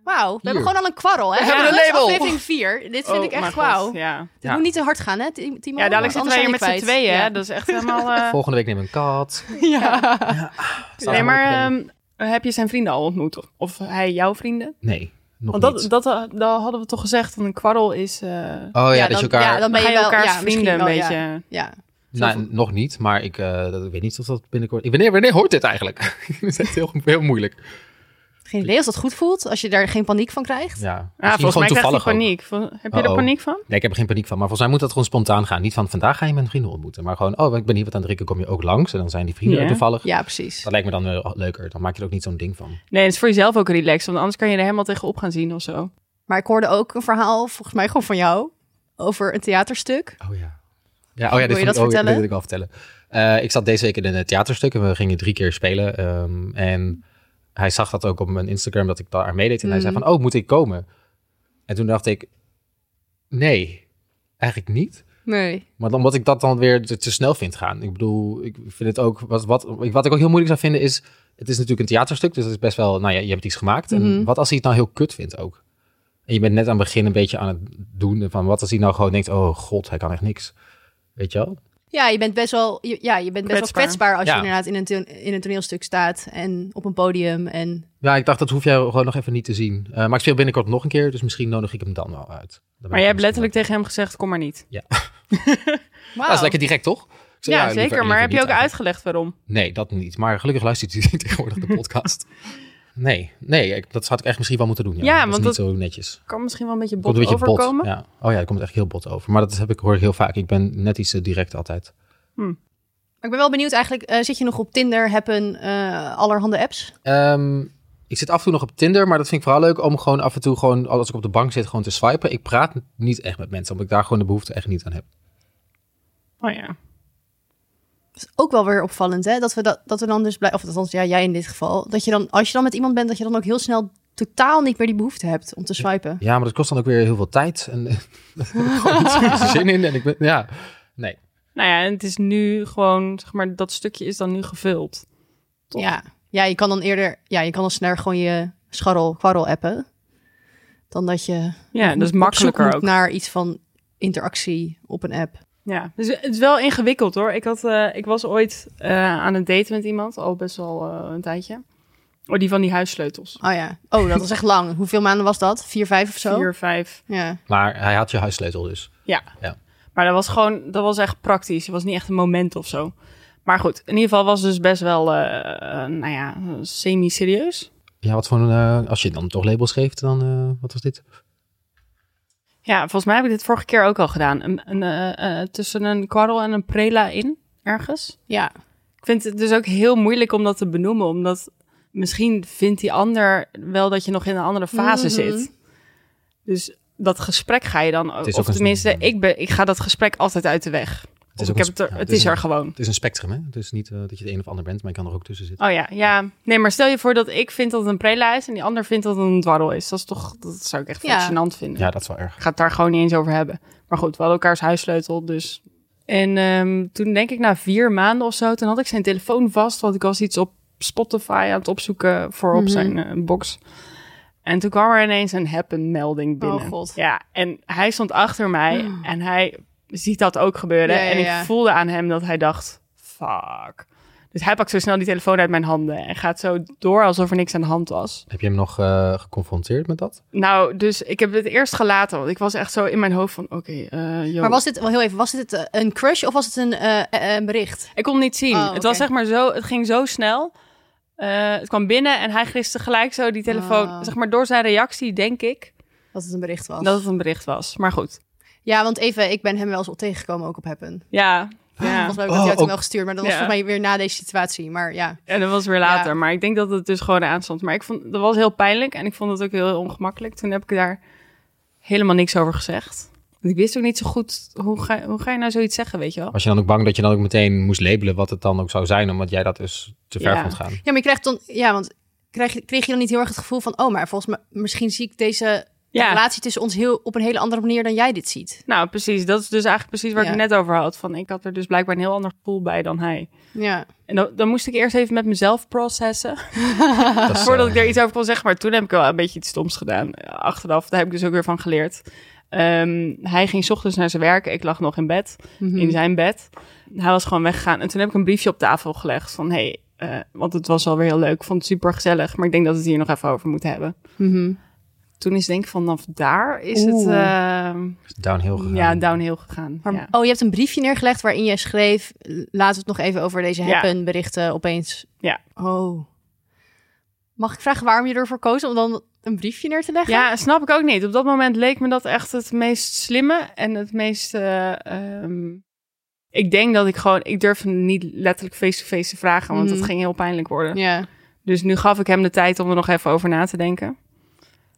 Speaker 2: Wauw, we hebben
Speaker 1: Hier.
Speaker 2: gewoon al een kwarrel. Hè?
Speaker 4: We hebben
Speaker 2: Dit is
Speaker 4: een label.
Speaker 2: Aflevering 4. Dit vind
Speaker 4: Oh,
Speaker 2: ik
Speaker 4: mijn
Speaker 2: echt
Speaker 4: god,
Speaker 2: wauw.
Speaker 4: Ja.
Speaker 2: Dit
Speaker 1: Ja.
Speaker 2: moet niet te hard gaan, hè, Timo?
Speaker 4: ja, dadelijk
Speaker 2: Want
Speaker 4: zitten wij hier met
Speaker 2: anders
Speaker 4: z'n
Speaker 2: zijn we
Speaker 4: tweeën. hè?
Speaker 2: kwijt.
Speaker 4: Dat is echt helemaal... eh,
Speaker 1: Volgende week neem ik een kat.
Speaker 2: Ja.
Speaker 1: Staat
Speaker 4: Nee,
Speaker 1: allemaal op de
Speaker 4: maar
Speaker 1: planning.
Speaker 4: ehm, heb je zijn vrienden al ontmoet? Of, of hij jouw vrienden?
Speaker 1: nee, nog
Speaker 4: Want dat,
Speaker 1: niet.
Speaker 4: dat, eh, dat hadden we toch gezegd, want een kwarrel is... eh
Speaker 1: oh ja,
Speaker 2: ja,
Speaker 1: dat je
Speaker 2: dan-
Speaker 1: elkaar...
Speaker 2: ja, dan- ben
Speaker 4: ga
Speaker 2: je
Speaker 4: je
Speaker 2: wel-
Speaker 4: elkaars
Speaker 2: ja, misschien
Speaker 4: vrienden een
Speaker 2: wel, ja.
Speaker 4: beetje...
Speaker 2: ja.
Speaker 1: Nou,
Speaker 4: zoveel-
Speaker 1: nog niet, maar ik, eh, dat, ik weet niet of dat binnenkort... Ik, wanneer, wanneer hoort dit eigenlijk? dat is echt heel, heel moeilijk.
Speaker 2: Geen idee als dat goed voelt, als je daar geen paniek van krijgt.
Speaker 1: Ja,
Speaker 4: Ah,
Speaker 1: Misschien
Speaker 4: volgens mij krijgt hij
Speaker 1: toevallig ook.
Speaker 4: paniek. Vol- Heb je
Speaker 1: Oh,
Speaker 4: er
Speaker 1: oh.
Speaker 4: paniek van?
Speaker 1: Nee, ik heb er geen paniek van. Maar volgens mij moet dat gewoon spontaan gaan. Niet van vandaag ga je mijn vrienden ontmoeten. Maar gewoon, oh, ik ben hier wat aan het drinken, kom je ook langs. En dan zijn die vrienden
Speaker 4: Ja.
Speaker 1: er toevallig.
Speaker 2: Ja, precies.
Speaker 1: Dat lijkt me dan wel leuker. Dan maak je er ook niet zo'n ding van.
Speaker 4: Nee, het is voor jezelf ook relaxed, want anders kan je er helemaal tegenop gaan zien of zo.
Speaker 2: Maar ik hoorde ook een verhaal, volgens mij gewoon van jou, over een theaterstuk.
Speaker 1: Oh ja. Ja, oh ja,
Speaker 2: Wil
Speaker 1: dit
Speaker 2: je
Speaker 1: vond-
Speaker 2: dat
Speaker 1: oh,
Speaker 2: vertellen?
Speaker 1: dit wil ik wel vertellen. Eh, ik zat deze week in een eh, theaterstuk en we gingen drie keer spelen. ehm, en hij zag dat ook op mijn Instagram dat ik daar meedeed. En hij
Speaker 2: Mm.
Speaker 1: zei van, oh, moet ik komen? En toen dacht ik, nee, eigenlijk niet.
Speaker 2: Nee.
Speaker 1: Maar dan, omdat ik dat dan weer te, te snel vind gaan. Ik bedoel, ik vind het ook. Wat, wat, ik- wat ik ook heel moeilijk zou vinden is. Het is natuurlijk een theaterstuk, dus het is best wel. Nou ja, je hebt iets gemaakt.
Speaker 2: Mhm.
Speaker 1: En wat als hij het nou heel kut vindt ook? En je bent net aan het begin een beetje aan het doen. Van wat als hij nou gewoon denkt: oh god, hij kan echt niks. Weet je wel?
Speaker 2: Ja, je bent best wel, je- ja, je bent best
Speaker 4: Kwetsbaar.
Speaker 2: wel kwetsbaar als
Speaker 1: Ja.
Speaker 2: je inderdaad in een, to- in een toneelstuk staat en op een podium. En
Speaker 1: Ja, ik dacht dat hoef jij gewoon nog even niet te zien. Eh, maar ik speel binnenkort nog een keer, dus misschien nodig ik hem dan wel uit. Dan ben
Speaker 4: Maar
Speaker 1: ik
Speaker 4: jij
Speaker 1: misschien
Speaker 4: hebt letterlijk tegen hem gezegd, kom maar niet.
Speaker 1: wel-
Speaker 2: wauw.
Speaker 1: Dat Ah, is lekker direct, toch? Ik zei,
Speaker 4: ja,
Speaker 1: liever-
Speaker 4: zeker.
Speaker 1: liever
Speaker 4: maar heb je
Speaker 1: niet
Speaker 4: ook
Speaker 1: eigenlijk.
Speaker 4: uitgelegd waarom?
Speaker 1: Nee, dat niet. Maar gelukkig luistert hij tegenwoordig de podcast. Nee, nee, ik- dat had ik echt misschien wel moeten doen. Ja,
Speaker 4: Ja,
Speaker 1: dat is
Speaker 4: want
Speaker 1: niet
Speaker 4: dat
Speaker 1: zo netjes.
Speaker 4: Kan misschien wel een beetje
Speaker 1: Komt
Speaker 4: bot
Speaker 1: een beetje
Speaker 4: overkomen.
Speaker 1: bot. Ja. Oh ja, dat komt echt heel bot over. Maar dat heb ik, hoor ik heel vaak. Ik ben net iets eh, direct altijd.
Speaker 2: Maar ik ben wel benieuwd eigenlijk, eh, zit je nog op Tinder, Happen, eh allerhande apps?
Speaker 1: Ehm, ik zit af en toe nog op Tinder, maar dat vind ik vooral leuk om gewoon af en toe gewoon, als ik op de bank zit, gewoon te swipen. Ik praat niet echt met mensen, omdat ik daar gewoon de behoefte echt niet aan heb.
Speaker 4: Oh ja.
Speaker 2: Dat is ook wel weer opvallend, hè? Dat we, dat, dat we dan dus blijven, of althans, ja, jij in dit geval, dat je dan, als je dan met iemand bent, dat je dan ook heel snel totaal niet meer die behoefte hebt om te swipen.
Speaker 1: Ja, maar dat kost dan ook weer heel veel tijd. En daar heb ik gewoon niet zoveel zin in. En ik ben, ja, nee.
Speaker 4: Nou ja, en het is nu gewoon, zeg maar, dat stukje is dan nu gevuld. Toch?
Speaker 2: Ja. Ja, je kan dan eerder, ja, je kan dan sneller gewoon je scharrel, kwarrel appen. Dan dat je
Speaker 4: Ja, dat is
Speaker 2: op zoek
Speaker 4: makkelijker
Speaker 2: moet
Speaker 4: ook.
Speaker 2: naar iets van interactie op een app.
Speaker 4: Ja, dus het is wel ingewikkeld hoor. Ik, had, eh, ik was ooit eh, aan het daten met iemand, al best wel eh, een tijdje. Oh, die van die huissleutels.
Speaker 2: Oh ja. Oh, dat was echt lang. Hoeveel maanden was dat? Vier, vijf of zo?
Speaker 4: Vier, vijf.
Speaker 2: Ja.
Speaker 1: Maar hij had je huissleutel dus.
Speaker 4: Maar dat was gewoon, dat was echt praktisch. Het was niet echt een moment of zo. Maar goed, in ieder geval was het dus best wel, eh, eh, nou ja, semi-serieus.
Speaker 1: Ja, wat voor een... eh, als je dan toch labels geeft, dan... eh, wat was dit?
Speaker 4: Ja, volgens mij heb ik dit vorige keer ook al gedaan. Een, een, eh, eh, tussen een kwarrel en een prela in, ergens.
Speaker 2: Ja.
Speaker 4: Ik vind het dus ook heel moeilijk om dat te benoemen, omdat misschien vindt die ander wel dat je nog in een andere fase
Speaker 2: Mhm.
Speaker 4: zit. Dus dat gesprek ga je dan ook,
Speaker 1: is
Speaker 4: of
Speaker 1: ook een-
Speaker 4: tenminste, ik, ben, ik ga dat gesprek altijd uit de weg.
Speaker 1: Het is,
Speaker 4: Of
Speaker 1: ook
Speaker 4: ik heb
Speaker 1: een
Speaker 4: het
Speaker 1: sp-
Speaker 4: er,
Speaker 1: ja,
Speaker 4: het is
Speaker 1: een-
Speaker 4: er gewoon.
Speaker 1: Het is een spectrum, hè? Het is niet eh, dat je het een of ander bent, maar je kan er ook tussen zitten.
Speaker 4: Oh ja, ja. Nee, maar stel je voor dat ik vind dat het een prela is en die ander vindt dat het een dwarrel is. Dat is toch, dat zou ik echt
Speaker 2: Ja.
Speaker 4: fascinant vinden.
Speaker 1: Ja, dat is wel erg.
Speaker 4: Ik ga het daar gewoon niet eens over hebben. Maar goed, we hadden elkaars huissleutel, dus. En ehm, toen denk ik na vier maanden of zo, toen had ik zijn telefoon vast, want ik was iets op Spotify aan het opzoeken voor op
Speaker 2: Mhm.
Speaker 4: zijn eh, box. En toen kwam er ineens een happen-melding binnen.
Speaker 2: Oh, God. Mm.
Speaker 4: Ja, en hij stond achter mij en hij ziet dat ook gebeuren.
Speaker 2: Ja, ja,
Speaker 4: en ik
Speaker 2: ja.
Speaker 4: voelde aan hem dat hij dacht, fuck. Dus hij pakt zo snel die telefoon uit mijn handen en gaat zo door alsof er niks aan de hand was.
Speaker 1: Heb je hem nog eh, geconfronteerd met dat?
Speaker 4: Nou, dus ik heb het eerst gelaten, want ik was echt zo in mijn hoofd van, oké, eh joh.
Speaker 2: Maar was dit, wel heel even, was dit eh, een crush of was het een eh, eh, een bericht?
Speaker 4: Ik kon het niet zien.
Speaker 2: Oh,
Speaker 4: Het
Speaker 2: oké.
Speaker 4: was zeg maar zo, het ging zo snel. Eh, het kwam binnen en hij griste gelijk zo die telefoon.
Speaker 2: Ah.
Speaker 4: Zeg maar door zijn reactie denk ik
Speaker 2: Dat het een bericht was.
Speaker 4: dat het een bericht was. Maar goed,
Speaker 2: Ja, want even, ik ben hem wel eens op tegengekomen ook op Happen.
Speaker 4: ja. ja.
Speaker 2: Volgens mij heb ik dat
Speaker 1: Oh,
Speaker 2: jou toen
Speaker 1: ook-
Speaker 2: wel gestuurd, maar dat was
Speaker 4: Ja.
Speaker 2: volgens mij weer na deze situatie. Maar ja.
Speaker 4: En dat was weer later.
Speaker 2: Ja.
Speaker 4: Maar ik denk dat het dus gewoon aanstond. Maar ik vond, dat was heel pijnlijk en ik vond het ook heel ongemakkelijk. Toen heb ik daar helemaal niks over gezegd. Want ik wist ook niet zo goed, hoe ga, hoe ga je nou zoiets zeggen, weet je wel?
Speaker 1: Was je dan ook bang dat je dan ook meteen moest labelen wat het dan ook zou zijn, omdat jij dat dus te ver
Speaker 4: Ja.
Speaker 1: vond gaan?
Speaker 2: Ja, maar je krijgt dan, ja, want krijg, je- kreeg je dan niet heel erg het gevoel van, oh, maar volgens mij, misschien zie ik deze
Speaker 4: Ja.
Speaker 2: relatie tussen ons heel, op een hele andere manier dan jij dit ziet.
Speaker 4: Nou, precies. Dat is dus eigenlijk precies waar ik
Speaker 2: Ja.
Speaker 4: het net over had. Van, ik had er dus blijkbaar een heel ander gevoel bij dan hij.
Speaker 2: Ja.
Speaker 4: En dan, dan moest ik eerst even met mezelf processen.
Speaker 1: Dat is,
Speaker 4: Voordat
Speaker 1: eh,
Speaker 4: ik daar iets over kon zeggen. Maar toen heb ik wel een beetje iets stoms gedaan. Eh, Achteraf, daar heb ik dus ook weer van geleerd. Ehm, hij ging 's ochtends naar zijn werk. Ik lag nog in bed,
Speaker 2: Mhm.
Speaker 4: in zijn bed. Hij was gewoon weggegaan. En toen heb ik een briefje op tafel gelegd van... Hey, eh, want het was alweer heel leuk. Ik vond het super gezellig. Maar ik denk dat we het hier nog even over moeten hebben.
Speaker 2: Mhm.
Speaker 4: Toen is denk ik vanaf daar is het
Speaker 2: Oeh.
Speaker 4: ehm,
Speaker 1: downhill gegaan.
Speaker 4: ja, downhill gegaan.
Speaker 2: Maar-
Speaker 4: ja.
Speaker 2: Oh, je hebt een briefje neergelegd waarin je schreef, laten we het nog even over deze
Speaker 4: Ja.
Speaker 2: happen berichten opeens.
Speaker 4: Ja.
Speaker 2: Oh. Mag ik vragen waarom je ervoor koos om dan een briefje neer te leggen?
Speaker 4: Ja, snap ik ook niet. Op dat moment leek me dat echt het meest slimme en het meest. eh, ehm, ik denk dat ik gewoon. Ik durfde niet letterlijk face-to-face te vragen, want
Speaker 2: Mhm.
Speaker 4: dat ging heel pijnlijk worden.
Speaker 2: Ja.
Speaker 4: Dus nu gaf ik hem de tijd om er nog even over na te denken.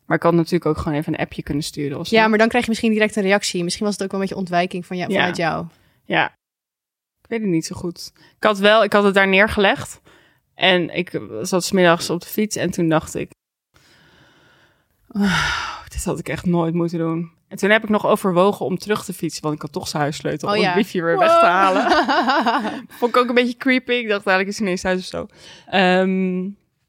Speaker 4: Maar ik had natuurlijk ook gewoon even een appje kunnen sturen. Of zo.
Speaker 2: ja, maar dan krijg je misschien direct een reactie. Misschien was het ook wel een beetje ontwijking van, ja,
Speaker 4: Ja.
Speaker 2: vanuit jou.
Speaker 4: Ja. Ik weet het niet zo goed. Ik had wel, ik had het daar neergelegd. En ik zat smiddags op de fiets en toen dacht ik... "Ah, dit had ik echt nooit moeten doen. En toen heb ik nog overwogen om terug te fietsen, want ik had toch zijn huissleutel
Speaker 2: Oh
Speaker 4: om
Speaker 2: ja.
Speaker 4: het briefje weer
Speaker 2: Wow.
Speaker 4: weg te halen. Vond ik ook een beetje creepy. Ik dacht eigenlijk is hij ineens thuis of zo. Ehm,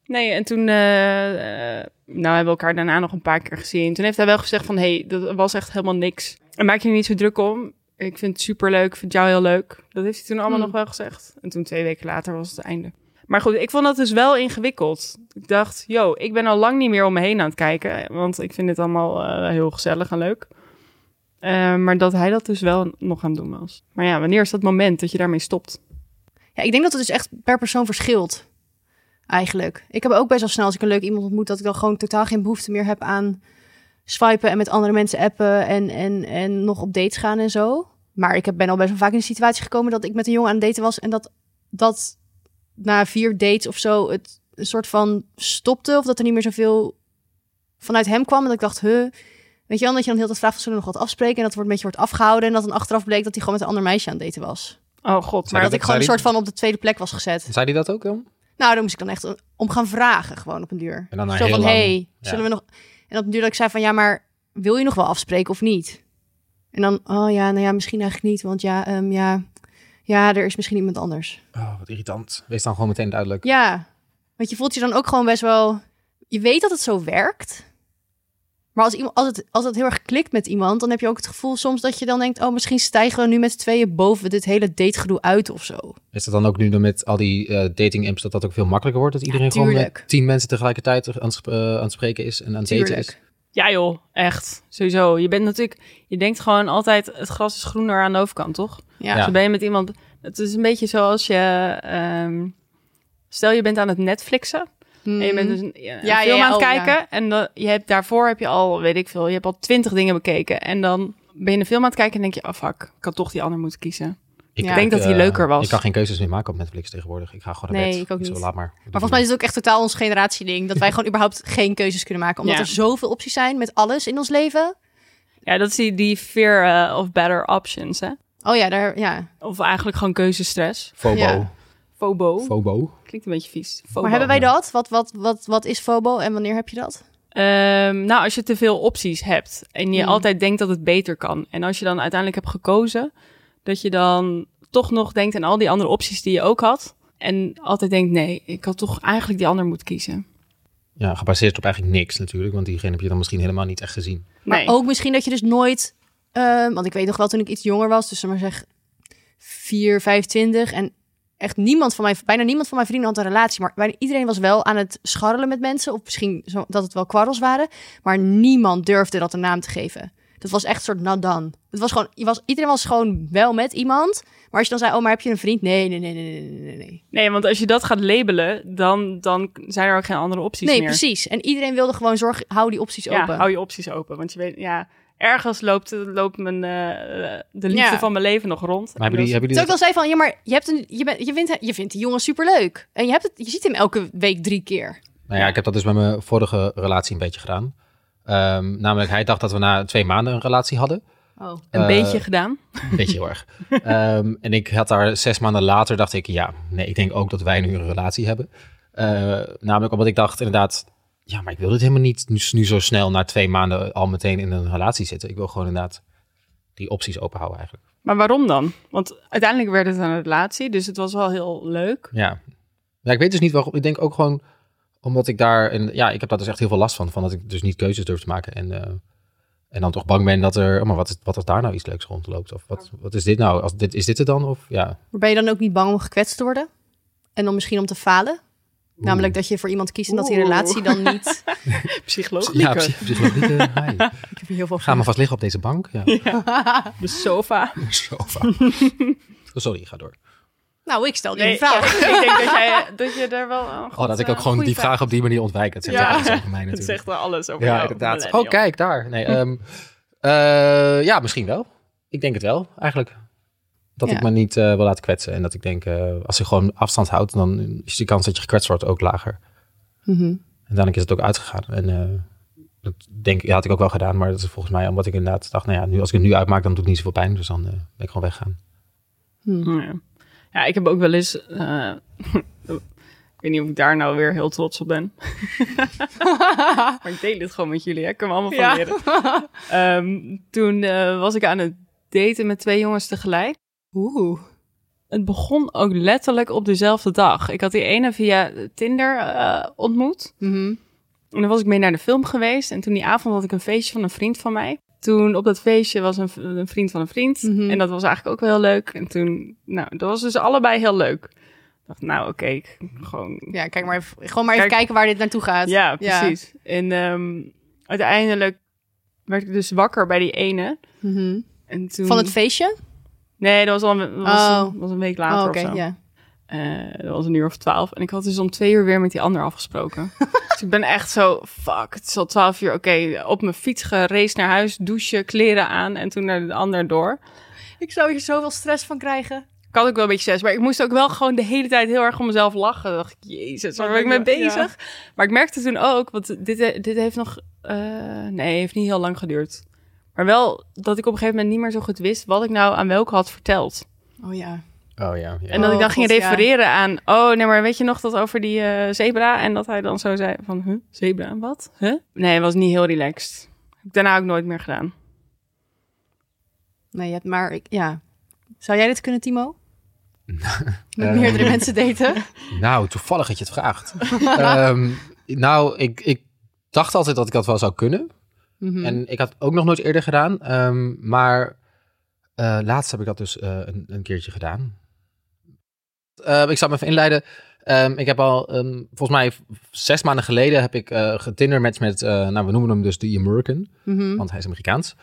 Speaker 4: nee, en toen... eh, eh, nou, hebben we elkaar daarna nog een paar keer gezien. Toen heeft hij wel gezegd van... hey, dat was echt helemaal niks. En maak je er niet zo druk om. Ik vind het superleuk. Ik vind jou heel leuk. Dat heeft hij toen allemaal
Speaker 2: Hmm.
Speaker 4: nog wel gezegd. En toen twee weken later was het einde. Maar goed, ik vond dat dus wel ingewikkeld. Ik dacht, yo, ik ben al lang niet meer om me heen aan het kijken. Want ik vind het allemaal eh, heel gezellig en leuk. Eh, maar dat hij dat dus wel nog aan het doen was. Maar ja, wanneer is dat moment dat je daarmee stopt?
Speaker 2: Ja, ik denk dat het dus echt per persoon verschilt. Eigenlijk. Ik heb ook best wel snel als ik een leuk iemand ontmoet, dat ik dan gewoon totaal geen behoefte meer heb aan swipen en met andere mensen appen en, en, en nog op dates gaan en zo. Maar ik heb, ben al best wel vaak in de situatie gekomen dat ik met een jongen aan het daten was en dat, dat na vier dates of zo het een soort van stopte of dat er niet meer zoveel vanuit hem kwam. En dat ik dacht, huh. Weet je wel, dat je dan heel de vraag van zullen we nog wat afspreken en dat wordt een beetje wordt afgehouden en dat dan achteraf bleek dat hij gewoon met een ander meisje aan het daten was.
Speaker 4: Oh god,
Speaker 1: Zou
Speaker 4: maar
Speaker 2: Maar dat
Speaker 1: dat-
Speaker 2: ik gewoon een
Speaker 1: zou
Speaker 2: soort
Speaker 1: die-
Speaker 2: van op de tweede plek was gezet.
Speaker 1: Zei hij dat ook dan?
Speaker 2: Nou, daar moest ik dan echt om gaan vragen, gewoon op een duur.
Speaker 1: En dan na
Speaker 2: Zo
Speaker 1: heel
Speaker 2: van,
Speaker 1: lang,
Speaker 2: hey, zullen we nog... En op een duur dat ik zei van, ja, maar wil je nog wel afspreken of niet? En dan, oh ja, nou ja, misschien eigenlijk niet, want ja, ehm, ja, ja, er is misschien iemand anders.
Speaker 1: Oh, wat irritant. Wees dan gewoon meteen duidelijk.
Speaker 2: Ja, want Want je voelt je dan ook gewoon best wel... Je weet dat het zo werkt. Maar als, iemand, als, het, als het heel erg klikt met iemand... dan heb je ook het gevoel soms dat je dan denkt... oh, misschien stijgen we nu met z'n tweeën boven dit hele dategedoe uit of zo.
Speaker 1: Is dat dan ook nu dan met al die eh, dating apps dat dat ook veel makkelijker wordt? Dat iedereen gewoon
Speaker 2: tuurlijk.
Speaker 1: met tien mensen tegelijkertijd aan, het sp- eh, aan het spreken is en aan het daten is?
Speaker 2: Tuurlijk.
Speaker 4: Ja joh, echt. Sowieso. Je bent natuurlijk... Je denkt gewoon altijd... Het gras is groener aan de overkant, toch?
Speaker 2: Ja.
Speaker 1: Ja.
Speaker 4: Dus ben je met iemand... Het is een beetje zoals je... ehm, stel, je bent aan het Netflixen.
Speaker 2: Hmm.
Speaker 4: En je bent dus een, ja, een
Speaker 2: Ja,
Speaker 4: film
Speaker 2: ja,
Speaker 4: aan het
Speaker 2: oh,
Speaker 4: kijken.
Speaker 2: ja.
Speaker 4: En dan, je hebt, daarvoor heb je al, weet ik veel, je hebt al twintig dingen bekeken. En dan ben je een film aan het kijken en denk je, ah fuck, ik had toch die ander moeten kiezen.
Speaker 2: Ik
Speaker 1: heb,
Speaker 2: denk
Speaker 4: dat die
Speaker 1: eh,
Speaker 4: leuker was.
Speaker 1: Ik kan geen keuzes meer maken op Netflix tegenwoordig. Ik ga gewoon naar
Speaker 2: Nee,
Speaker 1: bed.
Speaker 2: ik ook
Speaker 1: Zo,
Speaker 2: niet.
Speaker 1: laat maar.
Speaker 2: Maar volgens mij is het ook echt totaal ons generatieding. Dat wij gewoon überhaupt geen keuzes kunnen maken. Omdat
Speaker 4: Ja.
Speaker 2: er zoveel opties zijn met alles in ons leven.
Speaker 4: Ja, dat is die, die fear eh, of better options, hè.
Speaker 2: Oh ja, daar, ja.
Speaker 4: Of eigenlijk gewoon keuzestress.
Speaker 1: Fobo.
Speaker 2: Ja.
Speaker 4: Fobo.
Speaker 1: Fobo.
Speaker 4: Klinkt een beetje vies. Fobo.
Speaker 2: Maar hebben wij dat? Wat, wat, wat, wat is FOBO en wanneer heb je dat?
Speaker 4: Ehm, nou, als je te veel opties hebt en je
Speaker 2: Hmm.
Speaker 4: altijd denkt dat het beter kan. En als je dan uiteindelijk hebt gekozen, dat je dan toch nog denkt aan al die andere opties die je ook had. En altijd denkt, nee, ik had toch eigenlijk die ander moeten kiezen.
Speaker 1: Ja, gebaseerd op eigenlijk niks natuurlijk, want diegene heb je dan misschien helemaal niet echt gezien.
Speaker 2: Maar
Speaker 4: Nee.
Speaker 2: ook misschien dat je dus nooit... ehm, want ik weet nog wel toen ik iets jonger was. Dus zullen we maar zeg 4, 25. En echt niemand van mijn... Bijna niemand van mijn vrienden had een relatie. Maar bijna iedereen was wel aan het scharrelen met mensen. Of misschien zo, dat het wel kwarrels waren. Maar niemand durfde dat een naam te geven. Dat was echt een soort not done. Het was gewoon, je was, iedereen was gewoon wel met iemand. Maar als je dan zei, oh, maar heb je een vriend? Nee, nee, nee, nee, nee, nee, nee.
Speaker 4: Nee, want als je dat gaat labelen, dan, dan zijn er ook geen andere opties
Speaker 2: Nee,
Speaker 4: meer.
Speaker 2: precies. En iedereen wilde gewoon zorgen, hou die opties
Speaker 4: Ja,
Speaker 2: open.
Speaker 4: hou je opties open. Want je weet, ja, ergens loopt, loopt mijn, eh, eh, de liefde
Speaker 2: Ja.
Speaker 4: van mijn leven nog rond.
Speaker 1: Maar hebben jullie, hebben
Speaker 2: Toen
Speaker 1: jullie
Speaker 2: ik al zei van, ja, maar je, hebt een, je, bent, je, vindt, je vindt die jongen superleuk. En je, hebt het, je ziet hem elke week drie keer.
Speaker 1: Nou ja, ik heb dat dus met mijn vorige relatie een beetje gedaan. Ehm, namelijk, hij dacht dat we na twee maanden een relatie hadden.
Speaker 2: Oh.
Speaker 4: Een
Speaker 1: Eh,
Speaker 4: beetje gedaan.
Speaker 1: Een beetje heel erg. Ehm, en ik had daar zes maanden later, dacht ik, ja, nee, ik denk ook dat wij nu een relatie hebben. Eh, namelijk omdat ik dacht, inderdaad, ja, maar ik wil dit helemaal niet nu, nu zo snel na twee maanden al meteen in een relatie zitten. Ik wil gewoon inderdaad die opties openhouden eigenlijk.
Speaker 4: Maar waarom dan? Want uiteindelijk werd het een relatie, dus het was wel heel leuk.
Speaker 1: Ja. ja, ik weet dus niet waarom. Ik denk ook gewoon omdat ik daar, en ja, ik heb daar dus echt heel veel last van, van dat ik dus niet keuzes durf te maken en... eh, en dan toch bang ben dat er, oh, maar wat is, wat als daar nou iets leuks rondloopt? Of wat, wat is dit nou? Als dit, is dit het dan? Of ja.
Speaker 2: Maar ben je dan ook niet bang om gekwetst te worden? En dan misschien om te falen? Namelijk dat je voor iemand kiest en dat die
Speaker 4: Oeh.
Speaker 2: relatie dan niet...
Speaker 4: Psycholoog.
Speaker 1: Ja, psych- psychologieke. hi.
Speaker 2: Ik heb hier heel veel
Speaker 1: Ga maar vast liggen op deze bank. Ja.
Speaker 4: de sofa.
Speaker 1: Sofa. Oh, Sorry, ga door.
Speaker 2: Nou, ik stel nu
Speaker 4: Nee,
Speaker 2: een vraag.
Speaker 4: ja, ik denk dat, jij, dat je er wel... Oh,
Speaker 1: Oh, dat ik ook gewoon die vraag op die manier ontwijk. Dat zegt
Speaker 4: Ja.
Speaker 1: ook alles over mij
Speaker 4: Het
Speaker 1: natuurlijk.
Speaker 4: zegt wel alles over
Speaker 1: ja,
Speaker 4: jou, Hm.
Speaker 1: inderdaad.
Speaker 4: millennial.
Speaker 1: Oh, kijk, daar. Nee, ehm, eh, ja, misschien wel. Ik denk het wel, eigenlijk. Dat
Speaker 2: Ja.
Speaker 1: ik me niet eh, wil laten kwetsen. En dat ik denk, eh, als je gewoon afstand houdt, dan is die kans dat je gekwetst wordt ook lager.
Speaker 2: Mhm.
Speaker 1: En uiteindelijk is het ook uitgegaan. En eh, dat denk, ik- ja, had ik ook wel gedaan. Maar dat is volgens mij omdat ik inderdaad dacht, nou ja, nu, als ik het nu uitmaak, dan doet het niet zoveel pijn. Dus dan eh, ben ik gewoon weggaan.
Speaker 4: Ja. Ja, ik heb ook wel eens. eh, ik weet niet of ik daar nou weer heel trots op ben. maar ik deel dit gewoon met jullie. Hè? Ik kan me allemaal van
Speaker 2: Ja.
Speaker 4: leren. Ehm, toen eh, was ik aan het daten met twee jongens tegelijk.
Speaker 2: Oeh.
Speaker 4: Het begon ook letterlijk op dezelfde dag. Ik had die ene via Tinder eh, ontmoet.
Speaker 2: Mhm.
Speaker 4: En dan was ik mee naar de film geweest. En toen die avond had ik een feestje van een vriend van mij. Toen op dat feestje was een, v- een vriend van een vriend.
Speaker 2: Mhm.
Speaker 4: En dat was eigenlijk ook wel heel leuk. En toen, nou, dat was dus allebei heel leuk. Ik dacht, nou, oké, ik gewoon.
Speaker 2: Ja, kijk maar even, gewoon maar even
Speaker 4: Kijk-
Speaker 2: kijken waar dit naartoe gaat.
Speaker 4: Ja, precies. En ehm, uiteindelijk werd ik dus wakker bij die ene.
Speaker 2: Mhm.
Speaker 4: En toen...
Speaker 2: Van het feestje?
Speaker 4: Nee, dat was al een, dat was,
Speaker 2: Oh.
Speaker 4: dat was een week
Speaker 2: Oh,
Speaker 4: later
Speaker 2: oké,
Speaker 4: of zo.
Speaker 2: ja.
Speaker 4: Eh, dat was een uur of twaalf. En ik had dus om twee uur weer met die ander afgesproken. dus ik ben echt zo, fuck, het is al twaalf uur. Oké, op mijn fiets geraced naar huis, douchen, kleren aan en toen naar de ander door.
Speaker 2: Ik zou hier zoveel stress van krijgen.
Speaker 4: Ik had ook wel een beetje stress, maar ik moest ook wel gewoon de hele tijd heel erg om mezelf lachen. Dan dacht ik, jezus, waar ben ik mee bezig? Maar ik merkte toen ook, want dit, dit heeft nog, eh, nee, heeft niet heel lang geduurd. Maar wel dat ik op een gegeven moment niet meer zo goed wist wat ik nou aan welke had verteld.
Speaker 2: Oh ja.
Speaker 1: Oh ja. ja.
Speaker 4: En dat
Speaker 2: Oh,
Speaker 4: ik dan ging
Speaker 2: God,
Speaker 4: refereren aan, oh nee, maar weet je nog dat over die eh, zebra? En dat hij dan zo zei van, huh, zebra, wat? Huh? Nee, het was niet heel relaxed. Heb ik daarna ook nooit meer gedaan.
Speaker 2: Nee, je hebt maar... Ik, ja. Zou jij dit kunnen, Timo? Met
Speaker 1: Eh,
Speaker 2: meerdere mensen daten.
Speaker 1: Nou, toevallig dat je het vraagt. Ehm, nou, ik, ik dacht altijd dat ik dat wel zou kunnen.
Speaker 2: Mhm.
Speaker 1: En ik had het ook nog nooit eerder gedaan. ehm, maar eh, laatst heb ik dat dus eh, een, een keertje gedaan. Ehm, ik zal me even inleiden. Ehm, ik heb al, ehm, volgens mij v- zes maanden geleden heb ik eh getindermatcht met, eh, nou we noemen hem dus The American,
Speaker 2: Mhm.
Speaker 1: want hij is Amerikaans.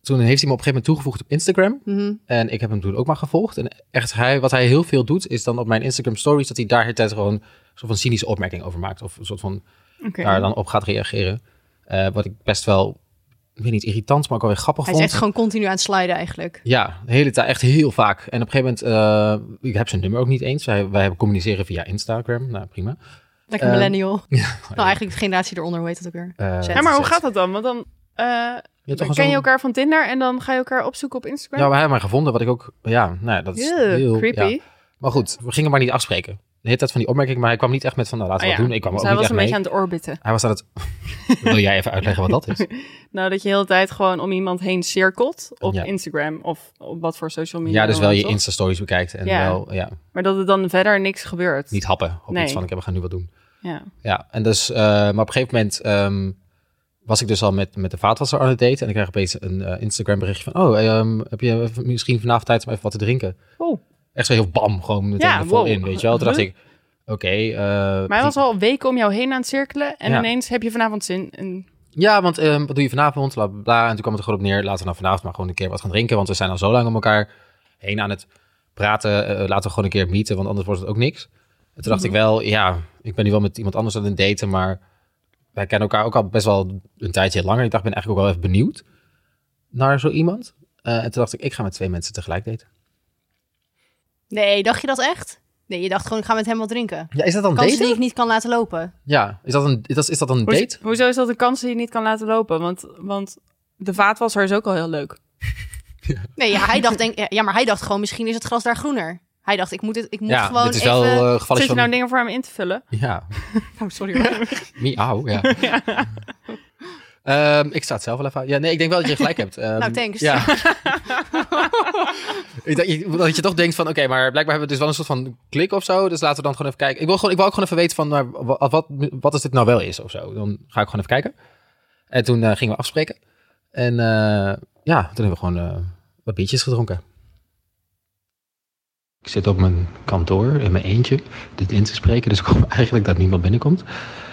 Speaker 1: Toen heeft hij me op een gegeven moment toegevoegd op Instagram.
Speaker 2: Mhm.
Speaker 1: En ik heb hem toen ook maar gevolgd. En echt, hij, wat hij heel veel doet, is dan op mijn Instagram stories... dat hij daar de hele tijd gewoon een soort van cynische opmerking over maakt. Of een soort van
Speaker 4: Oké.
Speaker 1: daar dan op gaat reageren. Eh, wat ik best wel, ik weet niet, irritant, maar ook wel weer grappig
Speaker 2: Hij is
Speaker 1: vond.
Speaker 2: echt gewoon continu aan het sliden eigenlijk.
Speaker 1: Ja, de hele tijd, echt heel vaak. En op een gegeven moment, eh, ik heb zijn nummer ook niet eens. Wij, wij hebben communiceren via Instagram. Nou, prima.
Speaker 2: Lekker
Speaker 1: Ehm,
Speaker 2: millennial. nou,
Speaker 1: ja.
Speaker 2: eigenlijk de generatie eronder, hoe heet dat ook weer?
Speaker 1: Eh,
Speaker 2: Zet.
Speaker 4: Ja, maar hoe
Speaker 1: zet.
Speaker 4: gaat dat dan? Want dan eh,
Speaker 1: Je hebt toch
Speaker 4: ken je
Speaker 1: zo'n-
Speaker 4: elkaar van Tinder en dan ga je elkaar opzoeken op Instagram.
Speaker 1: Ja, we hebben mij gevonden, wat ik ook... Ja, nou, ja, dat is
Speaker 4: Ew,
Speaker 1: heel...
Speaker 4: creepy. Oh,
Speaker 1: ja. Maar goed, we gingen maar niet afspreken. De hele tijd van die opmerking, maar hij kwam niet echt met van... Nou, laten we
Speaker 4: Ah,
Speaker 1: wat
Speaker 4: ja.
Speaker 1: doen. Ik kwam er
Speaker 4: Dus
Speaker 1: ook
Speaker 4: hij
Speaker 1: niet
Speaker 4: was
Speaker 1: echt
Speaker 4: een
Speaker 1: mee.
Speaker 4: beetje aan het orbiten.
Speaker 1: Hij was aan het... Wil jij even uitleggen wat dat is?
Speaker 4: Nou, dat je de hele tijd gewoon om iemand heen cirkelt op
Speaker 1: Ja.
Speaker 4: Instagram of op wat voor social media.
Speaker 1: Ja, dus wel
Speaker 4: dan
Speaker 1: je
Speaker 4: toch?
Speaker 1: Insta-stories bekijkt en
Speaker 4: Ja.
Speaker 1: wel ja,
Speaker 4: Maar dat er dan verder niks gebeurt.
Speaker 1: niet happen op
Speaker 4: Nee.
Speaker 1: iets van... Ik heb, we gaan nu wat doen.
Speaker 4: Ja.
Speaker 1: Ja, en dus... eh, maar op een gegeven moment ehm, was ik dus al met, met de vaatwasser aan het daten. En ik kreeg opeens een eh, Instagram berichtje van... Oh, ehm, heb je even- misschien vanavond tijd om even wat te drinken?
Speaker 4: Oh.
Speaker 1: Echt zo heel bam, gewoon meteen
Speaker 4: Ja,
Speaker 1: er vol
Speaker 4: wow.
Speaker 1: in, weet je wel. Toen dacht
Speaker 4: Huh?
Speaker 1: ik, oké... eh,
Speaker 4: Maar hij
Speaker 1: die-
Speaker 4: was al weken om jou heen aan het cirkelen en
Speaker 1: Ja.
Speaker 4: ineens heb je vanavond zin. En...
Speaker 1: Ja, want ehm, wat doe je vanavond? Bla, bla, bla. En toen kwam het er gewoon op neer. Laten we nou vanavond maar gewoon een keer wat gaan drinken. Want we zijn al zo lang om elkaar heen aan het praten. Eh, laten we gewoon een keer meeten, want anders wordt het ook niks. En toen dacht ik wel, ja, ik ben nu wel met iemand anders aan het daten. Maar wij kennen elkaar ook al best wel een tijdje langer. Ik dacht, ik ben eigenlijk ook wel even benieuwd naar zo iemand. Eh, en toen dacht ik, ik ga met twee mensen tegelijk daten.
Speaker 2: Nee, dacht je dat echt? Nee, je dacht gewoon, ik ga met hem wat drinken.
Speaker 1: Ja, is dat dan
Speaker 2: Kansen die
Speaker 1: daten?
Speaker 2: ik niet kan laten lopen.
Speaker 1: Ja, is dat een, is dat, is dat een
Speaker 4: Hoezo-
Speaker 1: date?
Speaker 4: Hoezo is dat een kans die je niet kan laten lopen? Want, want de vaatwasser is ook al heel leuk.
Speaker 2: Nee, ja, hij dacht, denk, ja, maar hij dacht gewoon, misschien is het gras daar groener. Hij dacht, ik moet, het, ik moet
Speaker 1: Ja,
Speaker 2: gewoon
Speaker 1: dit is wel
Speaker 2: even...
Speaker 1: eh, een gevalletje
Speaker 4: Zit je
Speaker 1: van...
Speaker 4: nou dingen voor hem in te vullen?
Speaker 1: Ja,
Speaker 2: Oh, sorry hoor.
Speaker 1: Miauw, ja. Ehm, ik sta het zelf wel even aan. Ja, nee, ik denk wel dat je gelijk hebt. Ehm,
Speaker 2: Nou, thanks.
Speaker 1: Ja. Ik denk- je- dat je toch denkt van, oké, maar blijkbaar hebben we dus wel een soort van klik of zo. Dus laten we dan gewoon even kijken. Ik wil, gewoon, ik wil ook gewoon even weten van, nou, wa- wat, wat is dit nou wel is of zo. Dan ga ik gewoon even kijken. En toen eh, gingen we afspreken. En eh, ja, toen hebben we gewoon eh, wat biertjes gedronken.
Speaker 3: Ik zit op mijn kantoor in mijn eentje dit in te spreken, dus ik hoop eigenlijk dat niemand binnenkomt.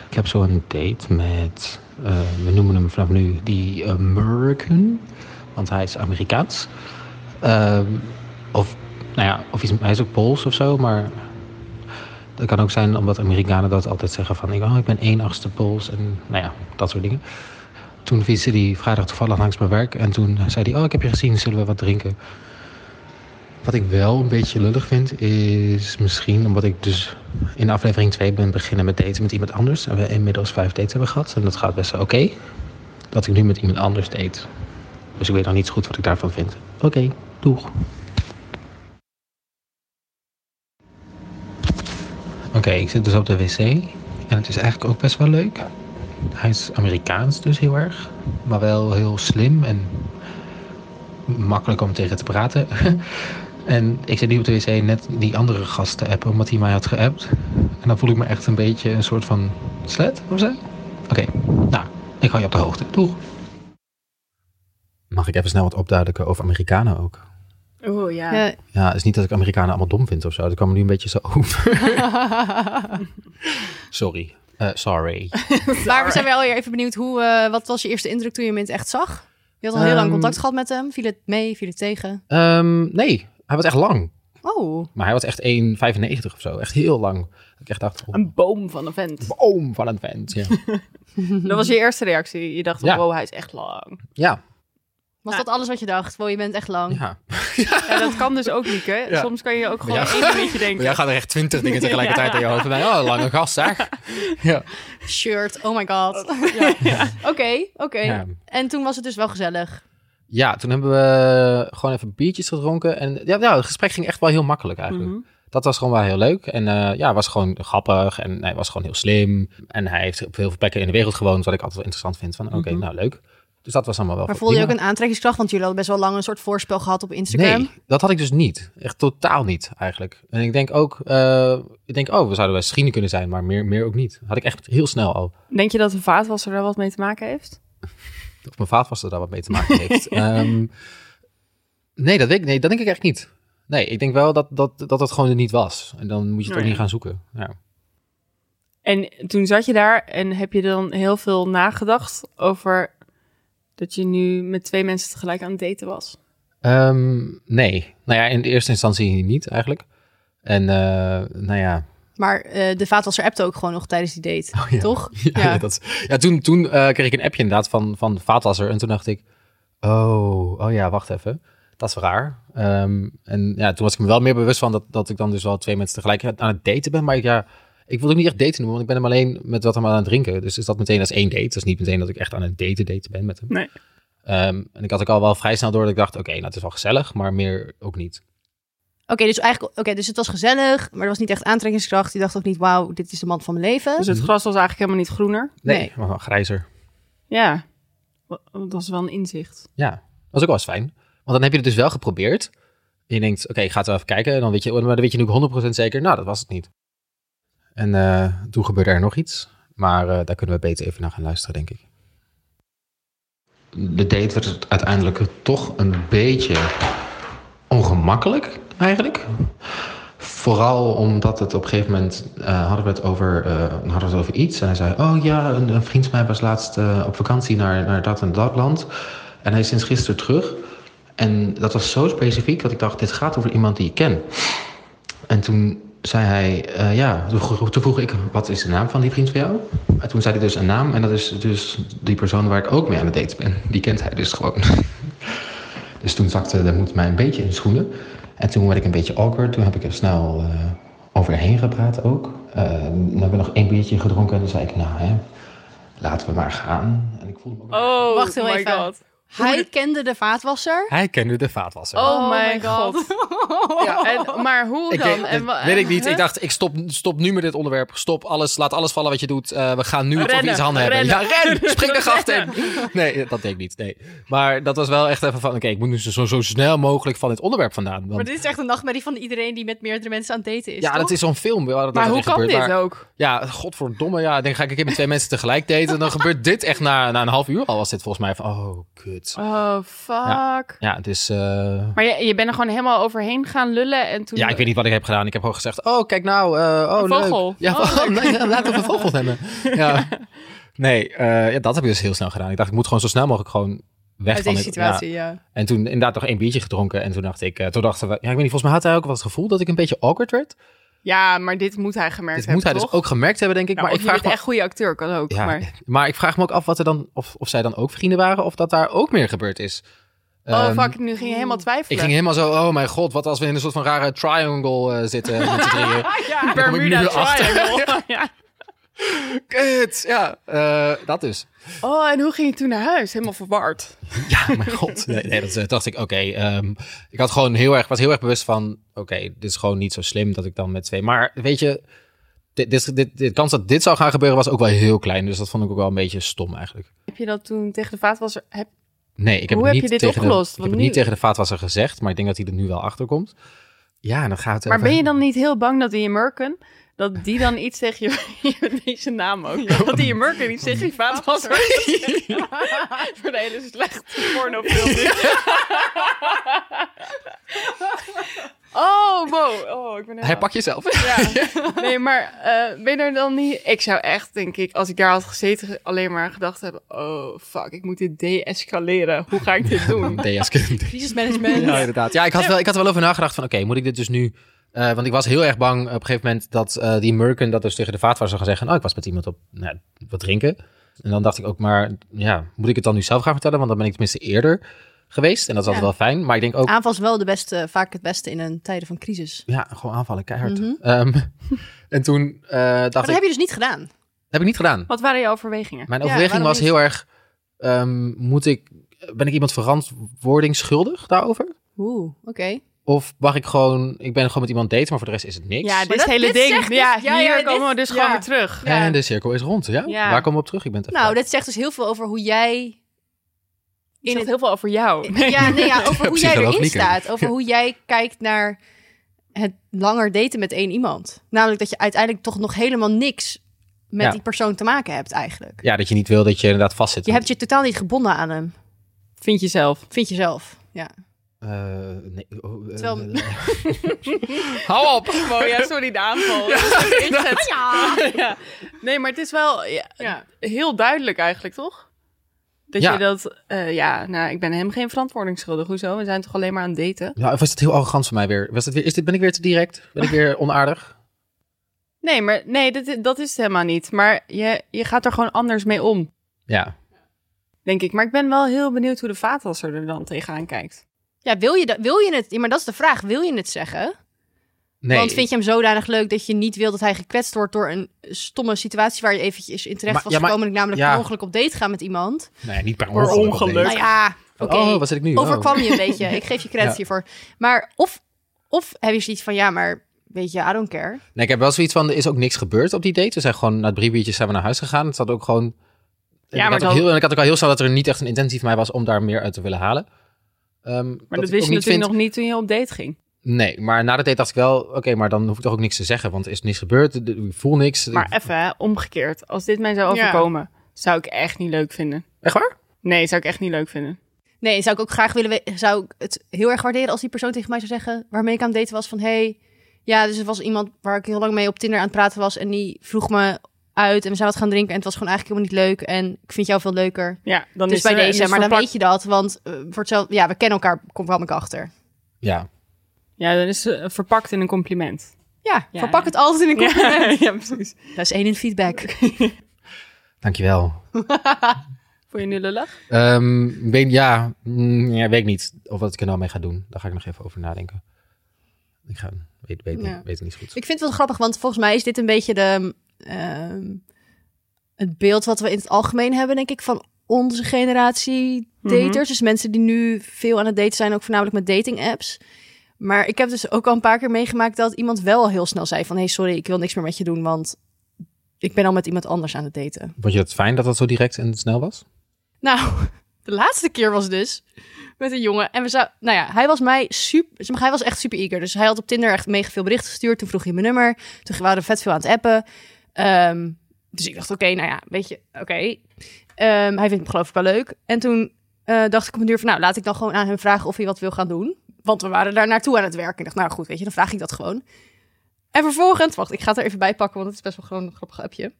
Speaker 3: Ik heb zo'n date met, eh, we noemen hem vanaf nu die American, want hij is Amerikaans. Ehm, of, nou ja, of iets, hij is ook Pools of zo, maar dat kan ook zijn omdat Amerikanen dat altijd zeggen van, ik, oh, ik ben één achtste Pools en nou ja, dat soort dingen. Toen fietste hij vrijdag toevallig langs mijn werk en toen zei hij, oh ik heb je gezien, zullen we wat drinken? Wat ik wel een beetje lullig vind is misschien omdat ik dus in aflevering 2 ben beginnen met daten met iemand anders. En we inmiddels vijf dates hebben gehad en dat gaat best wel oké. dat ik nu met iemand anders date. Dus ik weet nog niet zo goed wat ik daarvan vind. Oké, doeg. Oké, ik zit dus op de wc en het is eigenlijk ook best wel leuk. Hij is Amerikaans dus heel erg, maar wel heel slim en makkelijk om tegen te praten. En ik zit nu op de wc net die andere gast te appen, omdat hij mij had geappt. En dan voel ik me echt een beetje een soort van slet of zo. Oké, nou, ik hou je op de hoogte. Doeg.
Speaker 1: Mag ik even snel wat opduidelijken over Amerikanen ook?
Speaker 4: Oh
Speaker 1: eh,
Speaker 2: Ja.
Speaker 1: Ja, het is niet dat ik Amerikanen allemaal dom vind of zo. Dat kwam me nu een beetje zo over. Sorry. Eh, sorry.
Speaker 2: maar we zijn wel weer even benieuwd, hoe, eh, wat was je eerste indruk toen je hem in het echt zag? Je had al heel lang
Speaker 1: Ehm,
Speaker 2: contact gehad met hem. Viel het mee, viel het tegen?
Speaker 1: Ehm, nee, hij was echt lang.
Speaker 2: Oh,
Speaker 1: Maar hij was echt 1,95 of zo. Echt heel lang. Dat ik echt dacht, oh,
Speaker 4: Een boom van een vent.
Speaker 1: boom van een vent. Ja.
Speaker 4: Mhm. Dat was je eerste reactie. Je dacht,
Speaker 1: Ja.
Speaker 4: wow, hij is echt lang.
Speaker 1: ja,
Speaker 2: was
Speaker 4: Nou.
Speaker 2: dat alles wat je dacht? Wow, je bent echt lang.
Speaker 1: ja.
Speaker 4: Ja, dat kan dus ook, Lieke. Soms kan je ook gewoon
Speaker 1: Ja.
Speaker 4: één dingetje denken.
Speaker 1: Jij gaat er echt twintig dingen tegelijkertijd in je hoofd. Van, oh, lange gast, zeg. Ja.
Speaker 2: Shirt, oh my god. Oké, oké.
Speaker 1: Ja.
Speaker 2: En toen was het dus wel gezellig.
Speaker 1: ja, toen hebben we gewoon even biertjes gedronken. En ja, ja, het gesprek ging echt wel heel makkelijk eigenlijk.
Speaker 4: Mhm.
Speaker 1: Dat was gewoon wel heel leuk. En eh, ja, hij was gewoon grappig. En hij was gewoon heel slim. En hij heeft op heel veel plekken in de wereld gewoond. Wat ik altijd wel interessant vind. Van oké,
Speaker 4: Mhm.
Speaker 1: nou leuk. Dus dat was allemaal wel
Speaker 2: Maar
Speaker 1: voor-
Speaker 2: voelde je ook
Speaker 1: prima.
Speaker 2: een aantrekkingskracht? Want jullie hadden best wel lang een soort voorspel gehad op Instagram.
Speaker 1: Nee, dat had ik dus niet. Echt totaal niet eigenlijk. En ik denk ook, eh, ik denk, oh, we zouden wel vrienden kunnen zijn, maar meer, meer ook niet. Had ik echt heel snel al.
Speaker 4: Denk je dat een vaatwasser daar wat mee te maken heeft?
Speaker 1: Of mijn vaatwasser daar wat mee te maken heeft. Ehm, nee, dat weet ik, nee, dat denk ik echt niet. Nee, ik denk wel dat dat, dat het gewoon er niet was. En dan moet je het ook
Speaker 4: Nee.
Speaker 1: niet gaan zoeken. Ja.
Speaker 4: En toen zat je daar en heb je dan heel veel nagedacht over dat je nu met twee mensen tegelijk aan het daten was?
Speaker 1: Ehm, nee, nou ja, in de eerste instantie niet eigenlijk. En eh, nou ja,
Speaker 2: Maar eh, de vaatwasser appte ook gewoon nog tijdens die date,
Speaker 1: Oh, ja.
Speaker 2: toch?
Speaker 1: Ja, ja, dat is- ja toen, toen eh, kreeg ik een appje inderdaad van, van de vaatwasser. En toen dacht ik, oh, oh ja, wacht even. Dat is raar. Ehm, en ja, toen was ik me wel meer bewust van dat, dat ik dan dus wel twee mensen tegelijk aan het daten ben. Maar ik, ja, ik wil het ook niet echt daten noemen, want ik ben hem alleen met wat hem aan het drinken. Dus is dat meteen als één date. Dat is niet meteen dat ik echt aan het daten daten ben met hem.
Speaker 4: Nee.
Speaker 1: Ehm, en ik had ook al wel vrij snel door dat ik dacht, oké, nou het is wel gezellig, maar meer ook niet.
Speaker 2: Oké, dus eigenlijk, oké, dus het was gezellig, maar er was niet echt aantrekkingskracht. Je dacht ook niet, wauw, dit is de man van mijn leven.
Speaker 4: Dus het gras was eigenlijk helemaal niet groener.
Speaker 1: Nee,
Speaker 2: Nee.
Speaker 1: maar wel grijzer.
Speaker 4: Ja, Wa- dat is wel een inzicht.
Speaker 1: Ja, dat was ook wel eens fijn. Want dan heb je het dus wel geprobeerd. En je denkt, oké, ik ga het wel even kijken. En dan weet je, maar dan weet je nu 100% zeker, nou, dat was het niet. En eh, toen gebeurde er nog iets. Maar eh, daar kunnen we beter even naar gaan luisteren, denk ik.
Speaker 3: De date werd uiteindelijk toch een beetje ongemakkelijk, eigenlijk. Vooral omdat het op een gegeven moment eh, hadden, we het over, eh, hadden we het over iets. En hij zei: Oh ja, een, een vriend van mij was laatst eh, op vakantie naar, naar dat en dat land. En hij is sinds gisteren terug. En dat was zo specifiek dat ik dacht: Dit gaat over iemand die ik ken. En toen zei hij: eh, Ja, toen vroeg- toen vroeg ik: Wat is de naam van die vriend van jou? En toen zei hij dus een naam. En dat is dus die persoon waar ik ook mee aan het daten ben. Die kent hij dus gewoon. dus toen zakte de moed mij een beetje in de schoenen. En toen werd ik een beetje awkward. Toen heb ik er snel eh, overheen gepraat ook. Eh, dan hebben we nog één biertje gedronken. En toen zei ik: Nou, hè, laten we maar gaan. En ik voelde me ook.
Speaker 4: Oh,
Speaker 2: Wacht heel
Speaker 4: my
Speaker 2: even.
Speaker 4: God.
Speaker 2: Hij kende de vaatwasser.
Speaker 1: Hij kende de vaatwasser.
Speaker 4: Oh, my god. Ja, en, maar hoe
Speaker 1: Ik
Speaker 4: dan?
Speaker 1: denk, eh,
Speaker 4: en, wa-
Speaker 1: weet ik niet.
Speaker 4: Huh?
Speaker 1: Ik dacht, ik stop, stop nu met dit onderwerp. Stop alles, laat alles vallen wat je doet. Eh, we gaan nu het over
Speaker 4: Rennen,
Speaker 1: iets handen hebben.
Speaker 4: rennen.
Speaker 1: Ja, ren! Spring de gracht in! Nee, dat deed ik niet. Nee. Maar dat was wel echt even van, oké, ik moet nu zo, zo snel mogelijk van dit onderwerp vandaan. Want,
Speaker 2: Maar dit is echt een nachtmerrie van iedereen die met meerdere mensen aan het daten is,
Speaker 1: ja,
Speaker 2: toch?
Speaker 1: dat is zo'n film. waar dat
Speaker 4: Maar
Speaker 1: echt
Speaker 4: hoe kan
Speaker 1: gebeurt,
Speaker 4: dit
Speaker 1: waar-
Speaker 4: ook?
Speaker 1: Ja, godverdomme. Ja, dan ga ik een keer met twee mensen tegelijk daten. En dan gebeurt dit echt na, na een half uur al. Was dit volgens mij van, oh, kut.
Speaker 4: Oh, fuck.
Speaker 1: Ja, dus... eh,
Speaker 4: Maar je, je bent er gewoon helemaal overheen gaan lullen en toen...
Speaker 1: ja, ik weet niet wat ik heb gedaan. Ik heb gewoon gezegd, oh, kijk nou. eh, oh,
Speaker 4: Een
Speaker 1: leuk.
Speaker 4: vogel.
Speaker 1: Ja,
Speaker 4: Oh,
Speaker 1: oh, nee, ja, laten we een vogel hebben. Ja. Nee, eh, ja, dat heb ik dus heel snel gedaan. Ik dacht, ik moet gewoon zo snel mogelijk gewoon weg
Speaker 2: Uit
Speaker 1: van
Speaker 2: deze
Speaker 1: dit-
Speaker 2: situatie,
Speaker 1: ja.
Speaker 2: ja.
Speaker 1: En toen inderdaad nog één biertje gedronken. En toen dacht ik, eh, toen dachten we... Ja, ik weet niet, volgens mij had hij ook wel het gevoel dat ik een beetje awkward werd.
Speaker 4: Ja, maar dit moet hij
Speaker 1: Dit
Speaker 4: gemerkt hebben,
Speaker 1: moet hij dus
Speaker 4: toch?
Speaker 1: ook gemerkt hebben, denk ik.
Speaker 4: Nou,
Speaker 1: maar ik
Speaker 4: of je
Speaker 1: vraag
Speaker 4: bent
Speaker 1: me
Speaker 4: echt goede acteur, kan ook.
Speaker 1: Ja,
Speaker 4: maar...
Speaker 1: maar... ik vraag me ook af wat er dan, of, of zij dan ook vrienden waren, of dat daar ook meer gebeurd is.
Speaker 4: Oh,
Speaker 1: Ehm,
Speaker 4: fuck, nu ging je helemaal twijfelen.
Speaker 1: Ik ging helemaal zo, oh mijn god, wat als we in een soort van rare triangle eh, zitten met z'n drieën.
Speaker 4: ja,
Speaker 1: kom ik nu
Speaker 4: Bermuda
Speaker 1: achter.
Speaker 4: Triangle. ja.
Speaker 1: Kut, ja, eh, dat dus.
Speaker 4: Oh, en hoe ging je toen naar huis? Helemaal verward.
Speaker 1: Ja, Oh mijn god. Nee, nee, dat eh, dacht ik, oké. ehm, ik had gewoon heel erg, was heel erg bewust van, oké, dit is gewoon niet zo slim dat ik dan met twee... Maar weet je, dit, dit, dit, de kans dat dit zou gaan gebeuren was ook wel heel klein. Dus dat vond ik ook wel een beetje stom eigenlijk.
Speaker 4: Heb je dat toen tegen de vaatwasser... Heb...
Speaker 1: Nee, ik heb
Speaker 4: Hoe
Speaker 1: het
Speaker 4: heb
Speaker 1: niet
Speaker 4: je dit
Speaker 1: tegen
Speaker 4: opgelost?
Speaker 1: De, ik
Speaker 4: Want
Speaker 1: heb het niet
Speaker 4: nu-
Speaker 1: tegen de vaatwasser gezegd, maar ik denk dat hij er nu wel achter komt. Ja, en dan gaat het
Speaker 4: Maar
Speaker 1: even-
Speaker 4: ben je dan niet heel bang dat die Merken... Dat die dan iets tegen je... Deze naam ook. Dat die Merken iets tegen je vaatwasser... Voor de hele slechte pornofilm. Oh, wow. Oh, ik ben helemaal...
Speaker 1: Hij pak jezelf.
Speaker 4: Ja. Nee, maar eh, ben je er dan niet... Ik zou echt, denk ik, als ik daar had gezeten, alleen maar gedacht hebben... Oh, fuck, ik moet dit deescaleren. Hoe ga ik dit doen?
Speaker 1: DS-kind.
Speaker 2: Crisismanagement.
Speaker 1: Ja, inderdaad. Ja, ik had, wel, ik had er wel over nagedacht van, oké, moet ik dit dus nu... eh, want ik was heel erg bang op een gegeven moment dat eh, die American dat dus tegen de vaatwasser gaan zeggen. Oh, ik was met iemand op nou, wat drinken. En dan dacht ik ook maar, ja, moet ik het dan nu zelf gaan vertellen? Want dan ben ik tenminste eerder geweest. En dat is altijd wel fijn. Maar ik denk ook,
Speaker 2: Aanval is wel de beste, vaak het beste in een tijden van crisis.
Speaker 1: ja, gewoon aanvallen, keihard.
Speaker 2: Mhm.
Speaker 1: Ehm, en toen eh,
Speaker 2: Maar
Speaker 1: dacht
Speaker 2: dat
Speaker 1: ik,
Speaker 2: heb je dus niet gedaan.
Speaker 1: dat heb ik niet gedaan.
Speaker 4: Wat waren je overwegingen?
Speaker 1: Mijn
Speaker 2: Ja,
Speaker 1: overweging
Speaker 2: waarom
Speaker 1: was
Speaker 2: niet?
Speaker 1: heel erg, ehm, moet ik, ben ik iemand verantwoording schuldig daarover?
Speaker 2: Oeh, oké.
Speaker 1: Of mag ik gewoon, ik ben gewoon met iemand daten, maar voor de rest is het niks.
Speaker 4: Ja, dit,
Speaker 2: Maar
Speaker 4: is het
Speaker 2: dat-
Speaker 4: hele
Speaker 2: dit
Speaker 4: ding.
Speaker 2: zegt dus-
Speaker 4: ja,
Speaker 2: ja,
Speaker 4: hier
Speaker 2: ja,
Speaker 4: komen
Speaker 2: dit-
Speaker 4: we dus gewoon
Speaker 2: ja.
Speaker 4: weer terug.
Speaker 2: Ja.
Speaker 1: En de cirkel is rond, ja?
Speaker 4: Ja.
Speaker 1: Waar komen we op terug? Ik ben het even
Speaker 2: Nou, dit zegt dus heel veel over hoe jij
Speaker 4: In
Speaker 2: in het
Speaker 4: heel veel over jou. Nee.
Speaker 2: Ja, nee, ja, over hoe jij
Speaker 3: Psycholoog
Speaker 2: erin
Speaker 3: Lieke.
Speaker 2: staat. Over hoe jij kijkt naar het langer daten met één iemand. Namelijk dat je uiteindelijk toch nog helemaal niks met
Speaker 1: Ja.
Speaker 2: die persoon te maken hebt eigenlijk.
Speaker 1: Ja, dat je niet wil dat je inderdaad vastzit.
Speaker 2: Je hebt je totaal niet gebonden aan hem,
Speaker 4: Vind je zelf.
Speaker 2: vind je zelf. Ja.
Speaker 1: Eh, nee, oh, eh,
Speaker 2: Terwijl-
Speaker 1: eh,
Speaker 4: Hou op! Oh ja, sorry, de aanval. Inzet. Ja. Nee, maar het is wel ja,
Speaker 2: Ja.
Speaker 4: heel duidelijk eigenlijk, toch? Dat
Speaker 1: Ja.
Speaker 4: je dat... eh, ja, nou, ik ben hem geen verantwoording schuldig. Hoezo? We zijn toch alleen maar aan het daten?
Speaker 1: nou, of is het heel arrogant van mij weer? Was het weer is dit, ben ik weer te direct? Ben ik weer onaardig?
Speaker 4: Nee, maar nee, dat, i- dat is het helemaal niet. Maar je, je gaat er gewoon anders mee om,
Speaker 1: Ja.
Speaker 4: denk ik. Maar ik ben wel heel benieuwd hoe de vaatwasser er dan tegenaan kijkt.
Speaker 2: Ja, wil je, dat, wil je het? Ja, maar dat is de vraag. Wil je het zeggen?
Speaker 1: Nee.
Speaker 2: Want vind je hem zodanig leuk dat je niet wil dat hij gekwetst wordt door een stomme situatie waar je eventjes in terecht
Speaker 1: Maar-
Speaker 2: was
Speaker 1: ja, maar-
Speaker 2: gekomen, namelijk
Speaker 1: ja.
Speaker 2: per ongeluk op date gaan met iemand?
Speaker 1: Nee, niet per
Speaker 4: Door
Speaker 1: ongeluk. op
Speaker 4: ongeluk.
Speaker 1: deze.
Speaker 2: Nou ja,
Speaker 1: Van,
Speaker 2: oké.
Speaker 1: Oh, wat zit ik nu? Oh.
Speaker 2: overkwam je een beetje. Ik geef je credits
Speaker 1: Ja.
Speaker 2: hiervoor. Maar of, of heb je zoiets van, ja, maar weet je, I don't care.
Speaker 1: Nee, ik heb wel zoiets van, er is ook niks gebeurd op die date. We zijn gewoon na drie biertjes zijn we naar huis gegaan. Het had ook gewoon... en ik,
Speaker 4: maar
Speaker 1: had ook
Speaker 4: dan-
Speaker 1: heel, en ik had ook al heel snel dat er niet echt een intentie van mij was om daar meer uit te willen halen. Ehm,
Speaker 4: Maar dat,
Speaker 1: ik
Speaker 4: wist
Speaker 1: ook
Speaker 4: je
Speaker 1: niet
Speaker 4: natuurlijk
Speaker 1: vind-
Speaker 4: nog niet toen je op date ging.
Speaker 1: Nee, maar na de date dacht ik wel, oké, maar dan hoef ik toch ook niks te zeggen. Want er is niks gebeurd, de- ik voel niks.
Speaker 4: Maar even, hè, omgekeerd. Als dit mij zou
Speaker 2: Ja.
Speaker 4: overkomen, zou ik echt niet leuk vinden.
Speaker 1: Echt waar?
Speaker 4: Nee, zou ik echt niet leuk vinden.
Speaker 2: Nee, zou ik ook graag willen weten, zou ik het heel erg waarderen als die persoon tegen mij zou zeggen, waarmee ik aan het daten was, van hey, ja, dus er was iemand waar ik heel lang mee op Tinder aan het praten was en die vroeg me uit en we zijn wat gaan drinken en het was gewoon eigenlijk helemaal niet leuk en ik vind jou veel leuker.
Speaker 4: Ja, dan
Speaker 2: dus
Speaker 4: is
Speaker 2: bij
Speaker 4: er-
Speaker 2: deze, maar
Speaker 4: is
Speaker 2: dan
Speaker 4: verplakt-
Speaker 2: weet je dat, want eh, voor hetzelfde, ja, we kennen elkaar, kom kwam ik achter.
Speaker 1: Ja.
Speaker 4: Ja, dan is ze verpakt in een compliment.
Speaker 2: Ja,
Speaker 4: Ja.
Speaker 2: verpak het altijd in een compliment.
Speaker 4: Ja, ja, precies.
Speaker 2: Dat is één in feedback.
Speaker 1: Dankjewel.
Speaker 4: Vond je nu lullig?
Speaker 1: Ehm, ik weet, ja, mm, ja, weet ik niet of wat ik er nou mee ga doen. Daar ga ik nog even over nadenken. Ik ga, weet, weet,
Speaker 2: Ja.
Speaker 1: niet, weet het niet goed.
Speaker 2: Ik vind het wel grappig, want volgens mij is dit een beetje de, ehm, het beeld wat we in het algemeen hebben, denk ik, van onze generatie daters.
Speaker 4: Mhm.
Speaker 2: Dus mensen die nu veel aan het daten zijn, ook voornamelijk met dating apps. Maar ik heb dus ook al een paar keer meegemaakt dat iemand wel al heel snel zei van... hey, sorry, ik wil niks meer met je doen, want ik ben al met iemand anders aan het daten.
Speaker 1: Vond je dat fijn dat dat zo direct en snel was?
Speaker 2: Nou, de laatste keer was dus met een jongen. En we zou, nou ja, hij was mij super, zeg maar, hij was echt super eager. Dus hij had op Tinder echt mega veel berichten gestuurd. Toen vroeg hij mijn nummer. Toen waren we vet veel aan het appen. Ehm, dus ik dacht, oké, nou ja, weet je, oké. Ehm, hij vindt me geloof ik wel leuk. En toen eh, dacht ik op een duur van, nou, laat ik dan gewoon aan hem vragen of hij wat wil gaan doen. Want we waren daar naartoe aan het werken. Ik dacht, nou goed, weet je, dan vraag ik dat gewoon. En vervolgens, wacht, ik ga het er even bij pakken, want het is best wel gewoon een grappig appje.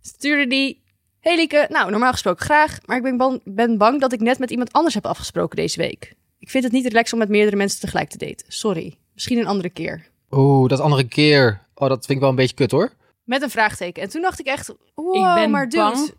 Speaker 2: Stuurde die Hey Lieke, nou normaal gesproken graag, maar ik ben, ban- ben bang dat ik net met iemand anders heb afgesproken deze week. Ik vind het niet relaxed om met meerdere mensen tegelijk te daten. Sorry, misschien een andere keer.
Speaker 1: Oeh, dat andere keer. Oh, dat vind ik wel een beetje kut hoor.
Speaker 2: Met een vraagteken. En toen dacht ik echt, wow,
Speaker 4: Ik ben
Speaker 2: maar dude.
Speaker 4: bang.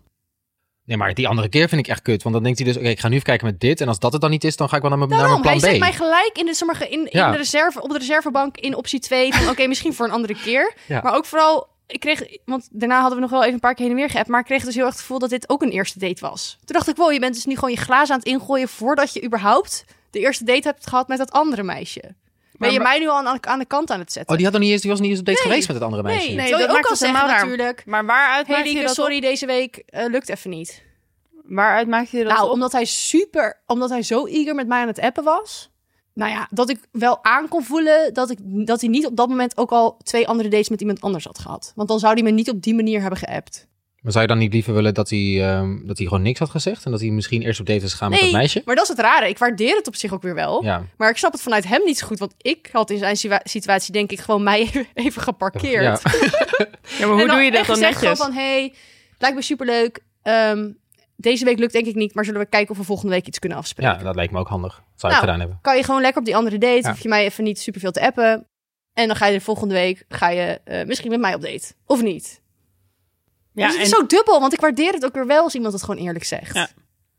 Speaker 1: Nee, maar die andere keer vind ik echt kut. Want dan denkt hij dus, oké, ik ga nu even kijken met dit. En als dat het dan niet is, dan ga ik wel naar
Speaker 4: Nou,
Speaker 1: mijn, naar
Speaker 2: Daarom, Nou,
Speaker 1: mijn
Speaker 2: hij
Speaker 1: plan B.
Speaker 2: zet mij gelijk in de, sommige, in, in
Speaker 1: Ja.
Speaker 2: de reserve, op de reservebank in optie 2 van oké, misschien voor een andere keer.
Speaker 1: Ja.
Speaker 2: Maar ook vooral, ik kreeg, want daarna hadden we nog wel even een paar keer heen en weer geappt, maar ik kreeg dus heel erg het gevoel dat dit ook een eerste date was. Toen dacht ik, wow, je bent dus nu gewoon je glazen aan het ingooien voordat je überhaupt de eerste date hebt gehad met dat andere meisje. ben je
Speaker 4: maar-
Speaker 2: mij nu al aan, aan de kant aan het zetten?
Speaker 1: Oh, die had nog niet eens, die was niet eens op date geweest met het andere meisje.
Speaker 2: Nee,
Speaker 4: Nee,
Speaker 2: nee dat
Speaker 4: dat
Speaker 2: je ook
Speaker 4: maakt
Speaker 2: al
Speaker 4: het
Speaker 2: zeggen
Speaker 4: helemaal raar.
Speaker 2: natuurlijk.
Speaker 4: Maar waaruit
Speaker 2: Hey
Speaker 4: maak je
Speaker 2: Lieke,
Speaker 4: dat
Speaker 2: sorry, deze week eh, lukt even niet.
Speaker 4: op? Waaruit maak je dat
Speaker 2: Nou,
Speaker 4: op?
Speaker 2: omdat hij super, omdat hij zo eager met mij aan het appen was. Nou ja, dat ik wel aan kon voelen dat, ik, dat hij niet op dat moment ook al twee andere dates met iemand anders had gehad. Want dan zou hij me niet op die manier hebben geappt.
Speaker 1: Maar zou je dan niet liever willen dat hij, ehm, dat hij gewoon niks had gezegd? En dat hij misschien eerst op date is gegaan met dat meisje?
Speaker 2: maar dat is het rare. Ik waardeer het op zich ook weer wel.
Speaker 1: Ja.
Speaker 2: Maar ik snap het vanuit hem niet zo goed. Want ik had in zijn situa- situatie denk ik gewoon mij even- even geparkeerd.
Speaker 1: Ja.
Speaker 4: Ja, maar hoe doe je dat dan
Speaker 2: Zeg gewoon
Speaker 4: netjes?
Speaker 2: van, hey, lijkt me superleuk. Ehm, deze week lukt denk ik niet, maar zullen we kijken of we volgende week iets kunnen afspreken.
Speaker 1: ja, dat lijkt me ook handig. Zou ik
Speaker 2: Nou,
Speaker 1: gedaan hebben.
Speaker 2: Kan je gewoon lekker op die andere date,
Speaker 1: Ja.
Speaker 2: hoef je mij even niet superveel te appen. En dan ga je de volgende week ga je, eh, misschien met mij op date. Of niet.
Speaker 4: Ja,
Speaker 2: dus het is
Speaker 4: en-
Speaker 2: zo dubbel, want ik waardeer het ook weer wel als iemand het gewoon eerlijk zegt.
Speaker 4: Ja.
Speaker 2: Ja,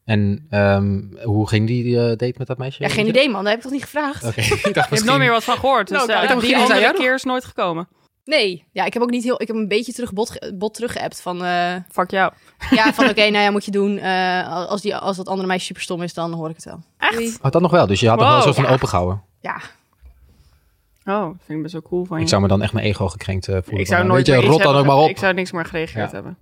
Speaker 1: En ehm, hoe ging die eh, date met dat meisje?
Speaker 2: geen idee man, dat heb ik toch niet gevraagd?
Speaker 1: Oké, ik dacht
Speaker 4: Je hebt nooit meer
Speaker 1: misschien...
Speaker 4: wat van gehoord. Dus
Speaker 2: Nou,
Speaker 4: eh,
Speaker 2: kijk, dan
Speaker 4: die
Speaker 1: ging zij
Speaker 4: andere
Speaker 1: ook.
Speaker 4: keer is nooit gekomen.
Speaker 2: Nee, ja, ik heb ook niet heel, ik heb een beetje terug bot, ge- bot teruggeappt van... eh,
Speaker 4: Fuck jou.
Speaker 2: ja, van oké, nou ja, moet je doen. Eh, als, die, als dat andere meisje super stom is, dan hoor ik het wel. Doei.
Speaker 1: Oh, dat nog wel. Dus je had nog wel een
Speaker 4: Wow.
Speaker 1: soort van open gehouden.
Speaker 2: Ja,
Speaker 4: Oh, dat vind ik best wel cool van je.
Speaker 1: Ik zou me dan echt mijn ego gekrenkt eh, voelen.
Speaker 4: Ik zou
Speaker 1: van,
Speaker 4: nooit
Speaker 1: Weet
Speaker 4: meer
Speaker 1: je,
Speaker 4: iets
Speaker 1: rot dan ook
Speaker 4: hebben
Speaker 1: maar
Speaker 4: ge-
Speaker 1: op.
Speaker 4: Ik zou niks meer gereageerd
Speaker 1: Ja.
Speaker 4: hebben.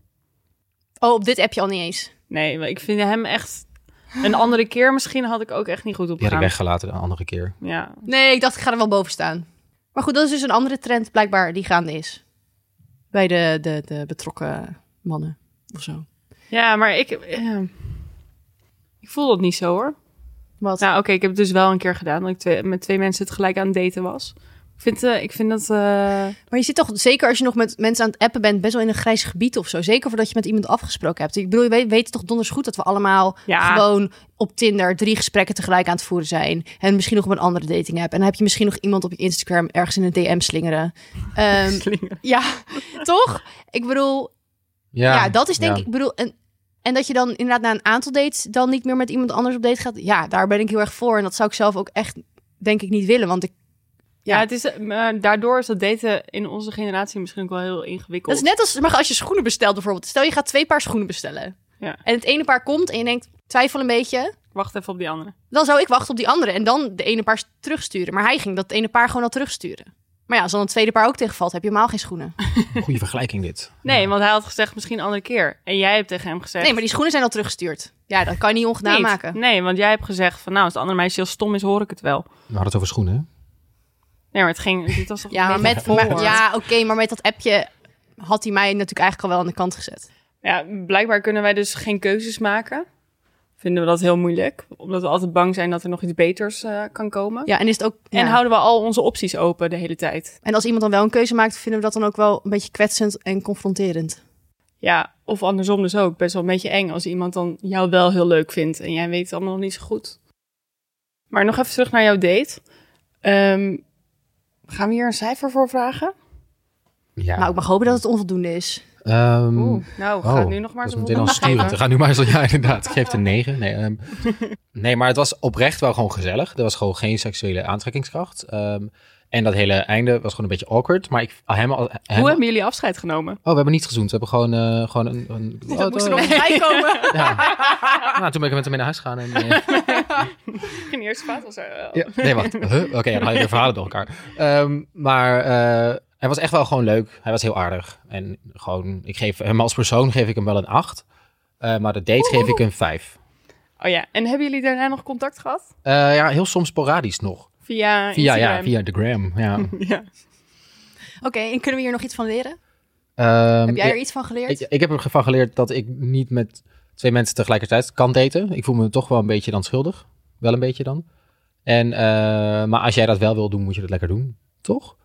Speaker 2: Oh, op dit appje al niet eens.
Speaker 4: Nee, maar ik vind hem echt... Een andere keer misschien had ik ook echt niet goed
Speaker 1: Die had ik
Speaker 4: opgegaan.
Speaker 1: weggelaten de andere keer.
Speaker 4: Ja,
Speaker 2: Nee, ik dacht, ik ga er wel boven staan. Maar goed, dat is dus een andere trend blijkbaar die gaande is. Bij de, de, de betrokken mannen of zo.
Speaker 4: ja maar ik, eh, ik voel dat niet zo hoor.
Speaker 2: Wat?
Speaker 4: Nou, oké, ik heb het dus wel een keer gedaan. Dat ik twee- met twee mensen tegelijk aan het daten was. Ik vind, eh, ik vind dat... eh,
Speaker 2: Maar je zit toch, zeker als je nog met mensen aan het appen bent, best wel in een grijs gebied of zo. Zeker voordat je met iemand afgesproken hebt. Ik bedoel, je weet, weet toch donders goed dat we allemaal
Speaker 4: Ja.
Speaker 2: gewoon op Tinder drie gesprekken tegelijk aan het voeren zijn. En misschien nog op een andere dating app. En dan heb je misschien nog iemand op je Instagram ergens in een DM slingeren. Ehm,
Speaker 4: slingeren.
Speaker 2: ja, toch? Ik bedoel, ja, dat is denk
Speaker 1: ja.
Speaker 2: ik, ik bedoel, en, en dat je dan inderdaad na een aantal dates dan niet meer met iemand anders op date gaat. Ja, daar ben ik heel erg voor. En dat zou ik zelf ook echt, denk ik, niet willen. Want ik,
Speaker 4: ja, het is, eh, maar daardoor is dat daten in onze generatie misschien ook wel heel ingewikkeld.
Speaker 2: dat is net als, maar als je schoenen bestelt bijvoorbeeld. Stel, je gaat twee paar schoenen bestellen.
Speaker 4: Ja.
Speaker 2: En het ene paar komt en je denkt, twijfel een beetje.
Speaker 4: Wacht even op die andere.
Speaker 2: Dan zou ik wachten op die andere en dan de ene paar terugsturen. Maar hij ging dat ene paar gewoon al terugsturen. Maar ja, als dan het tweede paar ook tegenvalt, heb je helemaal geen schoenen.
Speaker 1: Goede vergelijking dit.
Speaker 4: Nee, want hij had gezegd misschien een andere keer. En jij hebt tegen hem gezegd...
Speaker 2: Nee, maar die schoenen zijn al teruggestuurd. Ja, dat kan je niet ongedaan
Speaker 4: Niet.
Speaker 2: maken.
Speaker 4: Nee, want jij hebt gezegd van nou, als het andere meisje heel stom is, hoor ik het wel.
Speaker 1: We hadden het over schoenen. hè?
Speaker 4: Nee, maar het ging, dit was toch
Speaker 2: Ja, maar
Speaker 4: een beetje
Speaker 2: met,
Speaker 4: forward.
Speaker 2: maar- ja oké, maar met dat appje had hij mij natuurlijk eigenlijk al wel aan de kant gezet.
Speaker 4: Ja, blijkbaar kunnen wij dus geen keuzes maken. Vinden we dat heel moeilijk, omdat we altijd bang zijn dat er nog iets beters eh, kan komen.
Speaker 2: Ja, en is het ook. ja.
Speaker 4: En houden we al onze opties open de hele tijd.
Speaker 2: En als iemand dan wel een keuze maakt, vinden we dat dan ook wel een beetje kwetsend en confronterend.
Speaker 4: Ja, of andersom dus ook. Best wel een beetje eng als iemand dan jou wel heel leuk vindt en jij weet het allemaal nog niet zo goed. Maar nog even terug naar jouw date. Ehm, gaan we hier een cijfer voor vragen?
Speaker 1: Ja.
Speaker 2: Maar Nou, ik mag hopen dat het onvoldoende is.
Speaker 1: Ehm,
Speaker 4: nou,
Speaker 1: oh,
Speaker 4: gaat nu nog maar
Speaker 1: dat
Speaker 4: eens
Speaker 1: is
Speaker 4: op
Speaker 1: meteen al sturend. Ga nu maar eens. Ja, inderdaad. Ik geef een 9. Nee, ehm, nee, maar het was oprecht wel gewoon gezellig. Er was gewoon geen seksuele aantrekkingskracht. Ehm, en dat hele einde was gewoon een beetje awkward. Maar ik, hem, al- hem,
Speaker 4: Hoe hebben jullie afscheid genomen?
Speaker 1: Oh, we hebben niet gezoend. We hebben gewoon, eh, gewoon een... een oh,
Speaker 2: dat moest er nog
Speaker 1: oh,
Speaker 2: bij komen.
Speaker 1: ja. Nou, toen ben ik met hem mee naar huis gegaan. En, eh,
Speaker 4: Geen eerste vaat was
Speaker 1: Ja. Nee, wacht. Huh? Oké, dan hadden de verhalen door elkaar. Ehm, maar eh, hij was echt wel gewoon leuk. Hij was heel aardig. En gewoon, ik geef hem als persoon geef ik hem wel een 8. maar de date geef ik een 5.
Speaker 4: Oh ja, en hebben jullie daarna nog contact gehad?
Speaker 1: Eh, ja, heel soms sporadisch nog.
Speaker 4: Via
Speaker 1: Via, ja,
Speaker 4: Instagram?
Speaker 1: via de gram. Ja.
Speaker 4: Ja.
Speaker 2: Oké, en kunnen we hier nog iets van leren?
Speaker 1: Ehm,
Speaker 2: Heb jij
Speaker 1: ja,
Speaker 2: er iets van geleerd?
Speaker 1: ik, ik heb er van geleerd dat ik niet met twee mensen tegelijkertijd kan daten. Ik voel me toch wel een beetje dan schuldig. Wel een beetje dan. En, eh, maar als jij dat wel wil doen, moet je dat lekker doen. Toch?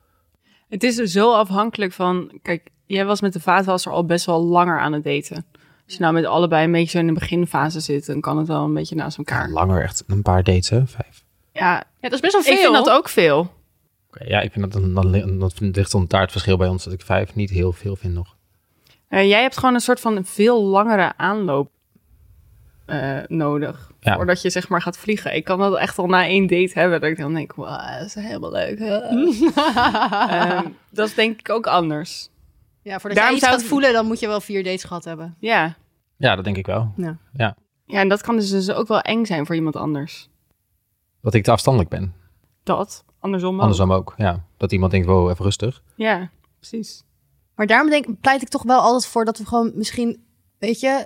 Speaker 4: Het is dus zo afhankelijk van... Kijk, jij was met de vaatwasser al best wel langer aan het daten. Als je nou met allebei een beetje zo in de beginfase zit... dan kan het wel een beetje naast elkaar.
Speaker 1: Langer echt. Een paar dates, hè? Vijf.
Speaker 4: Ja,
Speaker 2: Ja, dat is best wel
Speaker 4: ik vind dat ook veel.
Speaker 1: Oké, ja, ik vind dat een, dan, dat ligt een taartverschil bij ons dat ik vijf niet heel veel vind nog.
Speaker 4: Eh, jij hebt gewoon een soort van veel langere aanloop eh, nodig.
Speaker 1: Ja.
Speaker 4: Voordat je zeg maar gaat vliegen. Ik kan dat echt al na één date hebben. Dat ik dan denk, wauw, dat is helemaal leuk. Ehm, dat is denk ik ook anders.
Speaker 2: Ja, voordat
Speaker 4: Daarom
Speaker 2: jij iets
Speaker 4: zou
Speaker 2: gaat
Speaker 4: het-
Speaker 2: voelen, dan moet je wel vier dates gehad hebben.
Speaker 4: Ja.
Speaker 1: Ja, dat denk ik wel.
Speaker 4: ja, en dat kan dus, dus ook wel eng zijn voor iemand anders.
Speaker 1: Dat ik te afstandelijk ben.
Speaker 4: Dat, andersom ook.
Speaker 1: Andersom ook, ja. Dat iemand denkt, wow, even rustig.
Speaker 4: Ja, precies.
Speaker 2: Maar daarom denk, pleit ik toch wel altijd voor dat we gewoon misschien, weet je,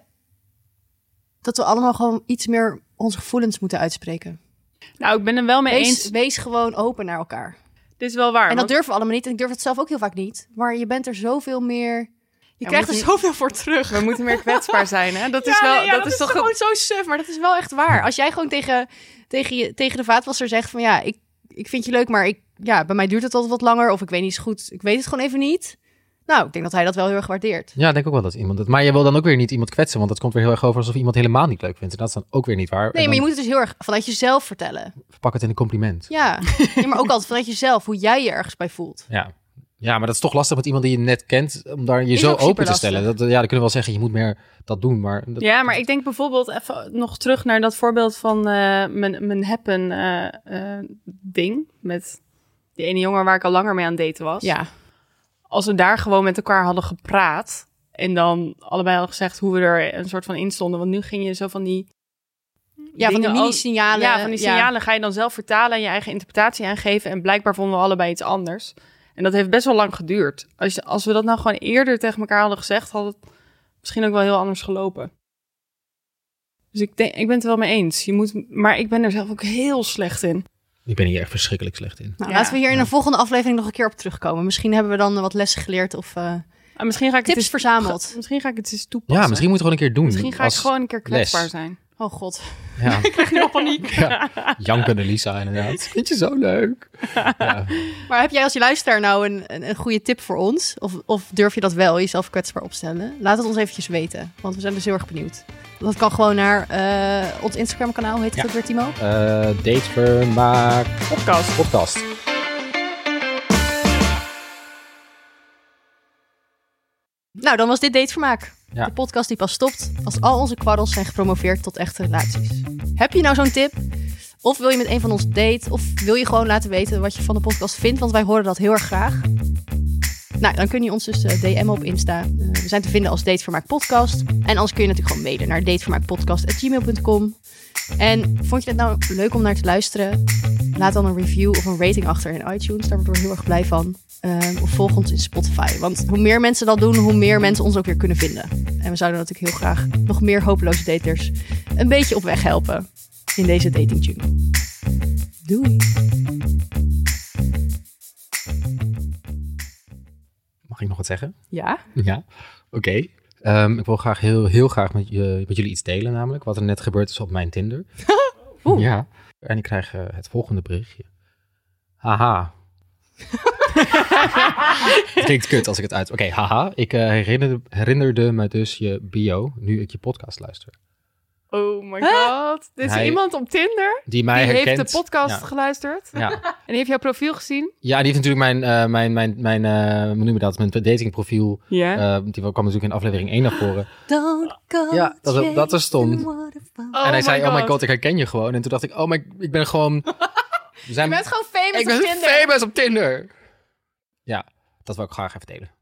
Speaker 2: dat we allemaal gewoon iets meer onze gevoelens moeten uitspreken.
Speaker 4: Nou, ik ben er wel mee
Speaker 2: Wees,
Speaker 4: eens.
Speaker 2: wees gewoon open naar elkaar.
Speaker 4: Dit is wel waar.
Speaker 2: En dat
Speaker 4: want-
Speaker 2: durven we allemaal niet. En ik durf het zelf ook heel vaak niet. Maar je bent er zoveel meer. Je krijgt er
Speaker 4: moet je-
Speaker 2: zoveel voor terug.
Speaker 4: We moeten meer kwetsbaar zijn, hè? Dat is wel... dat, is toch... Hm.
Speaker 2: gewoon zo suf. Maar dat is wel echt waar. Als jij gewoon tegen, tegen, je, tegen de vaatwasser zegt van ja, ik, ik vind je leuk, maar ik, ja, bij mij duurt het altijd wat langer. Of ik weet niet zo goed. Ik weet het gewoon even niet. Nou, ik denk dat hij dat wel heel erg waardeert.
Speaker 1: Ja, ik denk ook wel dat iemand het... Maar je wil dan ook weer niet iemand kwetsen, want dat komt weer heel erg over alsof iemand helemaal niet leuk vindt. En dat is dan ook weer niet waar. En
Speaker 2: Nee, maar je
Speaker 1: dan
Speaker 2: moet het dus heel erg vanuit jezelf vertellen.
Speaker 1: Verpak het in een compliment.
Speaker 2: Ja, Ja, maar ook altijd vanuit jezelf, hoe jij je ergens bij voelt.
Speaker 1: Ja. Ja, maar dat is toch lastig met iemand die je net kent, om daar je
Speaker 2: Is
Speaker 1: zo
Speaker 2: ook
Speaker 1: open te
Speaker 2: superlastig.
Speaker 1: stellen. Dat, ja, dan kunnen we wel zeggen, je moet meer dat doen, maar... dat-
Speaker 4: Ja, maar ik denk bijvoorbeeld even nog terug naar dat voorbeeld van eh, mijn, mijn happen eh, eh, ding. Met die ene jongen waar ik al langer mee aan het daten was.
Speaker 2: Ja,
Speaker 4: Als we daar gewoon met elkaar hadden gepraat. En dan allebei hadden gezegd hoe we er een soort van instonden. Want nu ging je zo van die...
Speaker 2: ja van die
Speaker 4: dingen als-
Speaker 2: mini-signalen.
Speaker 4: Ja, van die signalen ga je dan zelf vertalen en je eigen interpretatie aangeven. En blijkbaar vonden we allebei iets anders. En dat heeft best wel lang geduurd. Als, je- als we dat nou gewoon eerder tegen elkaar hadden gezegd, had het misschien ook wel heel anders gelopen. Dus Dus ik, denk, ik ben het er wel mee eens. Je moet, maar ik ben er zelf ook heel slecht in.
Speaker 1: Ik ben hier echt verschrikkelijk slecht in.
Speaker 2: Nou,
Speaker 4: Ja.
Speaker 2: laten we hier in een volgende aflevering nog een keer op terugkomen. Misschien hebben we dan wat lessen geleerd of eh,
Speaker 4: En Ah, misschien ga ik
Speaker 2: tips
Speaker 4: het eens,
Speaker 2: verzameld.
Speaker 4: Misschien ga ik het eens toepassen.
Speaker 1: Ja, misschien moeten we gewoon een keer doen.
Speaker 4: Misschien ga
Speaker 1: Als-
Speaker 4: ik gewoon een keer kwetsbaar
Speaker 1: les.
Speaker 4: zijn.
Speaker 2: Oh god.
Speaker 1: Ja,
Speaker 4: Ik krijg nu al paniek.
Speaker 1: Ja. Janke en Elisa inderdaad. Vind je zo leuk? Ja.
Speaker 2: Maar heb jij als je luisteraar nou een, een, een goede tip voor ons? Of, of durf je dat wel, jezelf kwetsbaar opstellen? Laat het ons eventjes weten, want we zijn dus heel erg benieuwd. Dat kan gewoon naar eh, ons Instagram kanaal, heet het
Speaker 1: Ja.
Speaker 2: ook weer Timo?
Speaker 1: Eh, Datevermaak
Speaker 4: Podcast.
Speaker 1: podcast.
Speaker 2: Nou, dan was dit Datevermaak.
Speaker 1: Ja.
Speaker 2: De podcast die pas stopt als al onze kwarrels zijn gepromoveerd tot echte relaties. Heb je nou zo'n tip? Of wil je met een van ons date? Of wil je gewoon laten weten wat je van de podcast vindt? Want wij horen dat heel erg graag. Nou, dan kun je ons dus eh, DM op Insta. Eh, we zijn te vinden als Datevermaak Podcast. En anders kun je natuurlijk gewoon mailen naar datevermaakpodcast.gmail.com. En vond je het nou leuk om naar te luisteren? Laat dan een review of een rating achter in iTunes. Daar worden we heel erg blij van. Ehm, of volg ons in Spotify. Want hoe meer mensen dat doen, hoe meer mensen ons ook weer kunnen vinden. En we zouden natuurlijk heel graag nog meer hopeloze daters een beetje op weg helpen in deze dating jungle. Doei!
Speaker 1: Mag ik nog wat zeggen?
Speaker 2: Ja?
Speaker 1: Ja, oké. Ehm, ik wil graag heel, heel graag met, je, met jullie iets delen, namelijk wat er net gebeurd is op mijn Tinder.
Speaker 2: Oeh.
Speaker 1: Ja. En ik krijg eh, het volgende berichtje. Haha. het klinkt kut als ik het uit. Oké, haha. Ik eh, herinnerde, herinnerde me dus je bio nu ik je podcast luister.
Speaker 4: Oh my god. Dit is
Speaker 1: Hij-
Speaker 4: iemand op Tinder.
Speaker 1: Die mij
Speaker 4: Die
Speaker 1: herkent.
Speaker 4: heeft de podcast
Speaker 1: Ja.
Speaker 4: geluisterd.
Speaker 1: Ja.
Speaker 4: En die heeft jouw profiel gezien.
Speaker 1: ja, die heeft natuurlijk mijn, eh, mijn, mijn, mijn eh, hoe noem je dat, mijn datingprofiel.
Speaker 4: Ja.
Speaker 1: eh, die kwam natuurlijk in aflevering 1 naar voren.
Speaker 2: Don't go
Speaker 1: Ja, dat- dat is
Speaker 2: chasing
Speaker 1: stom.
Speaker 2: waterfalls.
Speaker 1: en hij zei, oh my god, ik herken je gewoon. En toen dacht ik, oh my, ik ben gewoon... We zijn,
Speaker 2: Je bent gewoon famous
Speaker 1: ik ben
Speaker 2: op Tinder.
Speaker 1: famous op Tinder. Ja, dat wil ik graag even delen.